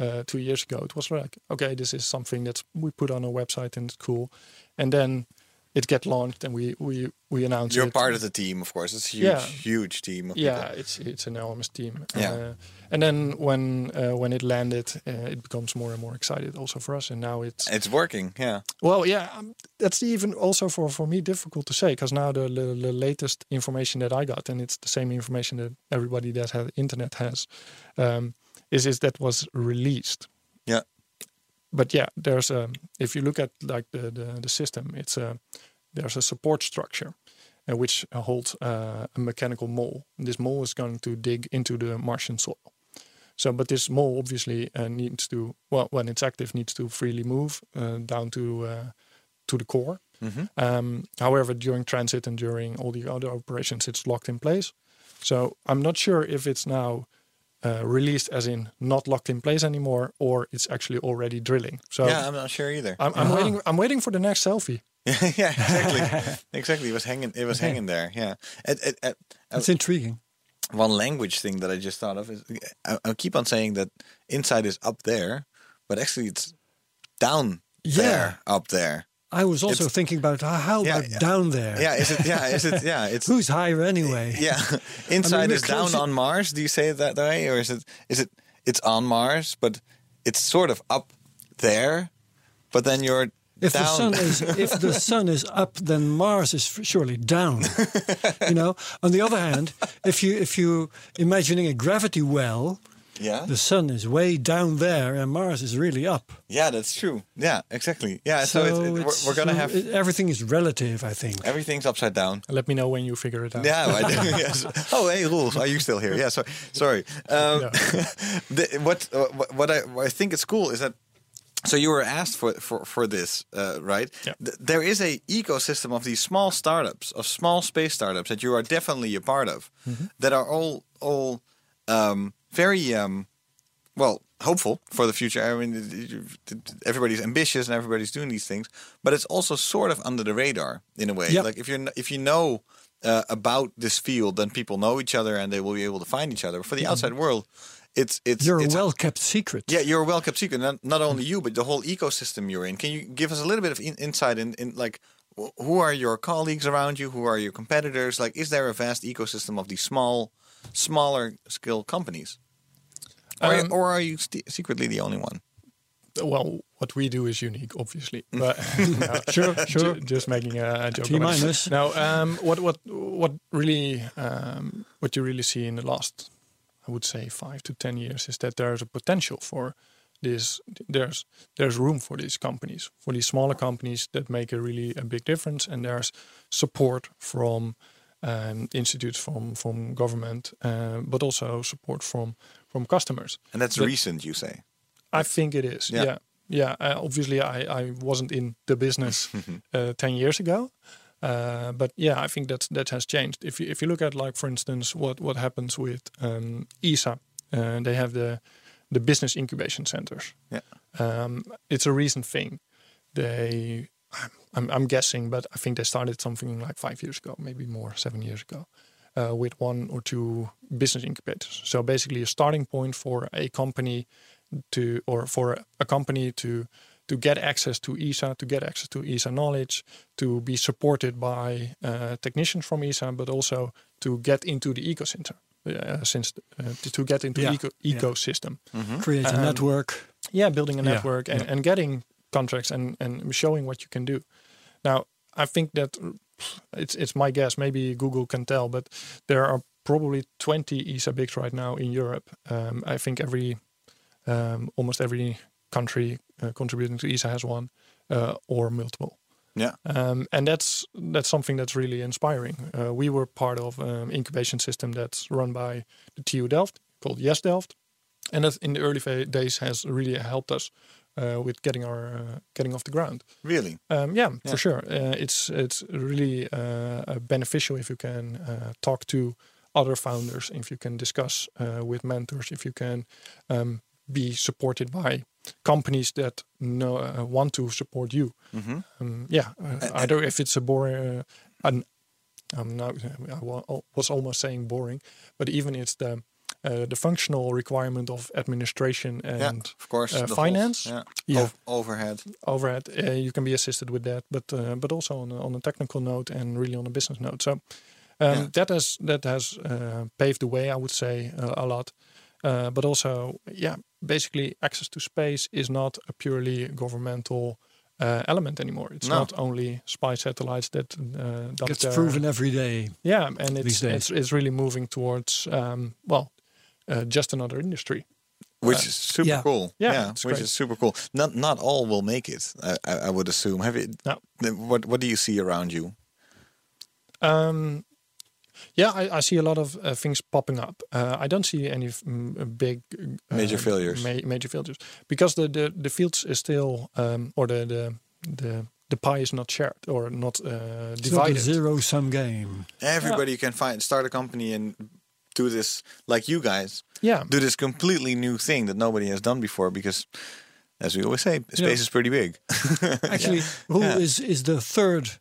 uh, two years ago, it was like okay, this is something that we put on a website and it's cool, and then it get launched and we we we announce You're it. part of the team, of course. It's a huge, Yeah. huge team. Of Yeah, people. it's it's an enormous team. Yeah. Uh, and then when uh, when it landed, uh, it becomes more and more excited also for us. And now it's It's working. Yeah. well, yeah, um, that's even also for, for me difficult to say because now the, the the latest information that I got, and it's the same information that everybody that has internet has, um, is is that was released. Yeah. But yeah, there's a if you look at like the the, the system, it's a there's a support structure, uh, which holds uh, a mechanical mole. This mole is going to dig into the Martian soil. So, but this mole obviously uh, needs to, well, when it's active, needs to freely move uh, down to uh, to the core. Mm-hmm. Um, however, during transit and during all the other operations, it's locked in place. So, I'm not sure if it's now uh, released as in not locked in place anymore, or it's actually already drilling. So, Yeah. um, uh-huh. I'm not sure either. Oh. I'm, I'm waiting. I'm waiting for the next selfie. yeah. Exactly. exactly. It was hanging. It was hanging there. Yeah. It, it, it, That's intriguing. one language thing that I just thought of is I, I keep on saying that inside is up there, but actually it's down Yeah. there, up there. I was also It's- thinking about uh, how Yeah, about yeah. down there? Yeah, is it? Yeah, is it? Yeah, it's Who's higher anyway? yeah. Inside we're is down closer- on Mars. Do you say it that way, or is it? Is it? It's on Mars, but it's sort of up there, but then you're If the down. sun is if the sun is up, then Mars is surely down. you know. On the other hand, if you if you imagining a gravity well, yeah, the sun is way down there and Mars is really up. yeah, that's true. Yeah, exactly. Yeah, so, So, it, it- it's- we're, we're gonna so have it- everything is relative. I think. everything's upside down. Let me know when you figure it out. Yeah, I do. yes. Oh, hey, Roel, are you still here? Yeah, sorry. Sorry. Um, the, what uh, what- what I, what I think is cool is that. So you were asked for for for this, uh, right? Yeah. Th- there is a ecosystem of these small startups, of small space startups that you are definitely a part of, that are all all um, very um, well hopeful for the future. I mean, th- th- th- everybody's ambitious and everybody's doing these things, but it's also sort of under the radar in a way. Yeah. Like if you if you know uh, about this field, then people know each other and they will be able to find each other. But for the outside world, it's it's Mm-hmm. You're a it's- well Mm-hmm. kept secret. Yeah, you're a well kept secret. Not, not only you, but the whole ecosystem you're in. Can you give us a little bit of in, insight in, in like wh- who are your colleagues around you? Who are your competitors? Like, is there a vast ecosystem of these small, smaller scale companies? Or, Um, or are you st- secretly the only one? well, what we do is unique, obviously. But no, sure, sure. just making a, a joke. T minus. Now, um, what what what really um, what you really see in the last, I would say, five to ten years is that there's a potential for this. There's there's room for these companies, for these smaller companies that make a really a big difference, and there's support from. Um, institutes from from government, uh, but also support from from customers. And that's That- recent, you say. I think it is. Yeah. Yeah. Yeah. Uh, obviously, I, I wasn't in the business uh, 10 years ago. Uh, but yeah, I think that's, that has changed. If you, if you look at, like, for instance, what, what happens with um, ESA, uh, they have the, the business incubation centers. Yeah. Um, it's a recent thing. They, I'm, I'm, I'm guessing, but I think they started something like five years ago, maybe more, seven years ago, uh, with one or two business incubators. So basically, a starting point for a company to, or for a company to, to get access to ESA, to get access to ESA knowledge, to be supported by uh, technicians from ESA, but also to get into the ecosystem. Uh, since uh, to- to get into Yeah, eco- yeah. ecosystem, Hmm? Create a Uh-huh. Um, network. yeah building a Yeah, network and, and getting contracts and and showing what you can do now i think that pff, it's it's my guess maybe google can tell but there are probably 20 esa bigs right now in europe um, i think every um, almost every country uh, contributing to esa has one uh, or multiple Yeah. um, and that's that's something that's really inspiring. Uh, we were part of um, incubation system that's run by the TU Delft called Yes Delft, and that in the early fa- days has really helped us uh, with getting our uh, getting off the ground. Really? Um, Yeah. yeah, for sure. Uh, it's it's really uh, uh, beneficial if you can uh, talk to other founders, if you can discuss uh, with mentors, if you can um, be supported by companies that know, uh, want to support you. Um, yeah, uh, either if it's a boring, uh, an, I'm now I wa- al- was almost saying boring, but even it's the uh, the functional requirement of administration and Yeah, of course. uh, the whole- finance yeah. Yeah. Ov- overhead. overhead. Uh, you can be assisted with that, but uh, but also on a, on a technical note and really on a business note. So um, Yeah. that has that has uh, paved the way, I would say, uh, a lot. Uh, but also, yeah, basically, access to space is not a purely governmental uh, element anymore. It's No. not only spy satellites that uh, dump Gets their- proven every day. Yeah, and it's these days. it's, it's really moving towards um, well, uh, just another industry. Which is super yeah. cool. Yeah, which it's great. is super cool. Not not all will make it. I, I, I would assume. Have you? No. What What do you see around you? Um, yeah, I, I see a lot of uh, things popping up. Uh, I don't see any mm, big uh, Major failures. Ma- major failures because the the the fields is still um, or the the the the pie is not shared or not uh, divided. Zero sum game. Everybody can find start a company and do this like you guys Yeah, do this completely new thing that nobody has done before because. As we always say, space Yeah. is pretty big. Actually, who is Yeah. is the third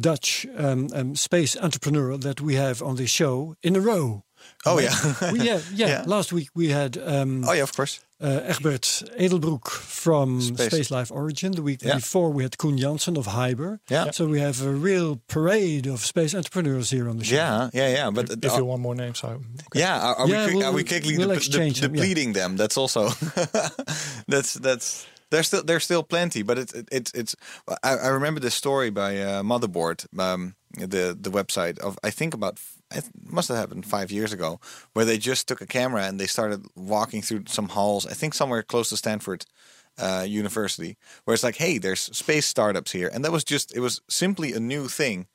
Dutch um, um, space entrepreneur that we have on this show in a row? Oh yeah. We- yeah, yeah, Yeah. Last week we had um, oh yeah, of course. uh, Egbert Edelbroek from Space. Space, Life Origin. The week Yeah. before we had Koen Janssen of Hyber. Yeah. So we have a real parade of space entrepreneurs here on the show. Yeah, yeah, yeah. But if you want more names, I, Yeah, are, are Yeah, we kick- we'll- are we kicking we'll the, the, exchange the them, yeah. bleeding them? That's also that's that's there's still there's still plenty, but it's it's it's. I, I remember this story by uh, Motherboard, um, the the website of I think about it must have happened five years ago, where they just took a camera and they started walking through some halls. I think somewhere close to Stanford. Uh, university where it's like hey there's space startups here and that was just it was simply a new thing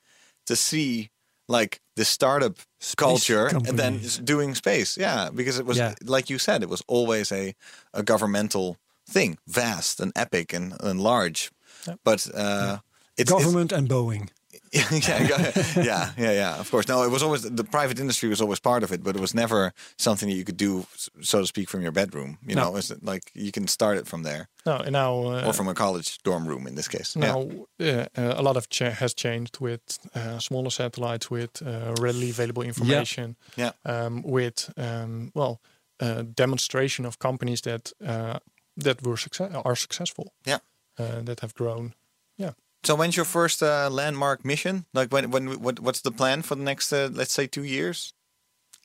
to see like the startup culture and then companies. s- doing space. Yeah, because it was Yeah. like you said, it was always a, a governmental thing, vast and epic and, and large. But uh, it's, it's- Government and Boeing. yeah, go- yeah, yeah, yeah. Of course. No, it was always the private industry was always part of it, but it was never something that you could do, s- so to speak, from your bedroom. You No. know, it's like you can start it from there no, and now uh, or from a college dorm room in this case. yeah. Now, uh, uh, a lot of cha- has changed with uh, smaller satellites, with uh, readily available information, Yeah. Uh, Um, with um, well, uh, demonstration of companies that uh, that were success are successful, yeah. uh, that have grown. Yeah, So when's your first uh, landmark mission? Like when when what what's the plan for the next uh, let's say two years?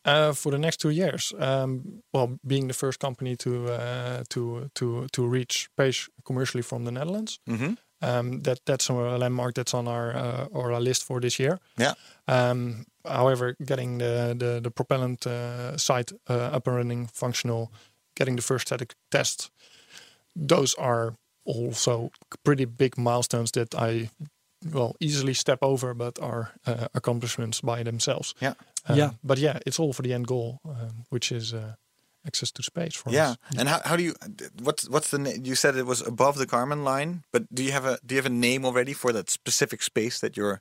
Uh, for the next two years, um, well, being the first company to uh, to to to reach space commercially from the Netherlands, Mhm. um, that that's a landmark that's on our uh, or our list for this year. Yeah. Um, however, getting the the, the propellant uh, site uh, up and running, functional, getting the first static test, those are also pretty big milestones that I well easily step over, but are uh, accomplishments by themselves. Yeah. Um, Yeah. But yeah, it's all for the end goal, um, which is uh, access to space for Yeah. us. And how, how do you what's what's the na- you said it was above the Karman line, but do you have a do you have a name already for that specific space that you're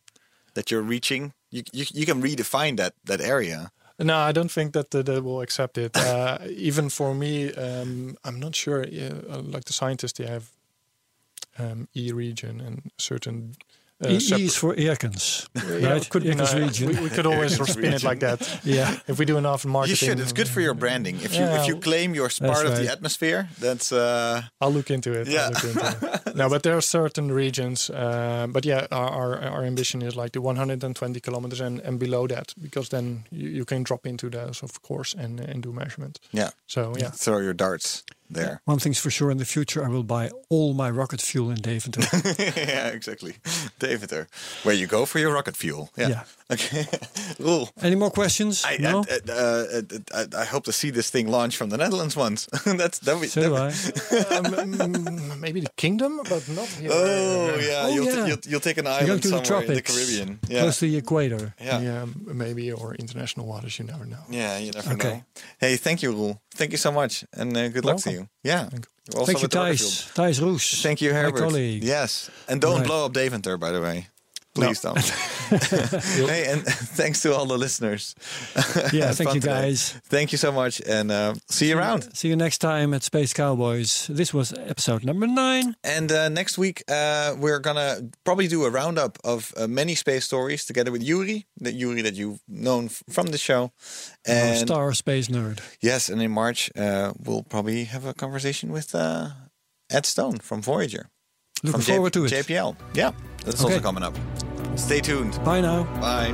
that you're reaching? You you, you can redefine that that area. No, I don't think that uh, they will accept it. Uh, even for me, um, I'm not sure. Uh, like the scientists, they have um, E region and certain. Uh, E, separ- E is for Erkens, Yeah, right? it could be, Erkens uh, region. We, we could E always spin it like that. yeah. If we do enough marketing, You should. It's good for your branding. If you if you Yeah. claim you're part of the right. atmosphere, that's uh I'll look into it. I'll Yeah. look into it. no, but there are certain regions. Uh, but yeah, our, our our ambition is like the 120 kilometers and, and below that, because then you, you can drop into those, of course, and and do measurement. yeah. So yeah, Throw your darts there. One thing's for sure, in the future I will buy all my rocket fuel in Deventer. yeah, exactly. Deventer, where you go for your rocket fuel. Yeah. Yeah. Okay. Roel, Any more questions? I, no? I, I, uh, I, I hope to see this thing launch from the Netherlands once. That's that. We, so that do we- I. Um, mm, maybe the kingdom, but not here. Oh yeah, Oh, you'll, yeah. you'll you'll take an You're going island to the somewhere in the tropics, Caribbean. Yeah. close to the equator. yeah. yeah. Yeah, maybe or international waters. You never know. you never Okay. know. Hey, thank you, Roel. Thank you so much, and uh, good luck to you. Welcome. Yeah. Also Thank you, with the rocket fuel. Thijs. Thijs Roes. Thank you, My Herbert. colleague. Yes, and don't Right. blow up Deventer, by the way. Please don't. hey, and thanks to all the listeners. Yeah, thank Had fun you, today. guys. Thank you so much, and uh, see you around. See you next time at Space Cowboys. This was episode number nine. And uh, next week, uh, we're gonna probably do a roundup of uh, many space stories together with Yuri, the Yuri that you've known f- from the show. Our And Star Space Nerd. yes, and in March, uh, we'll probably have a conversation with uh, Ed Stone from Voyager. Looking from J- forward to it. JPL. Yeah, that's also Okay. coming up. Stay tuned. Bye now. Bye.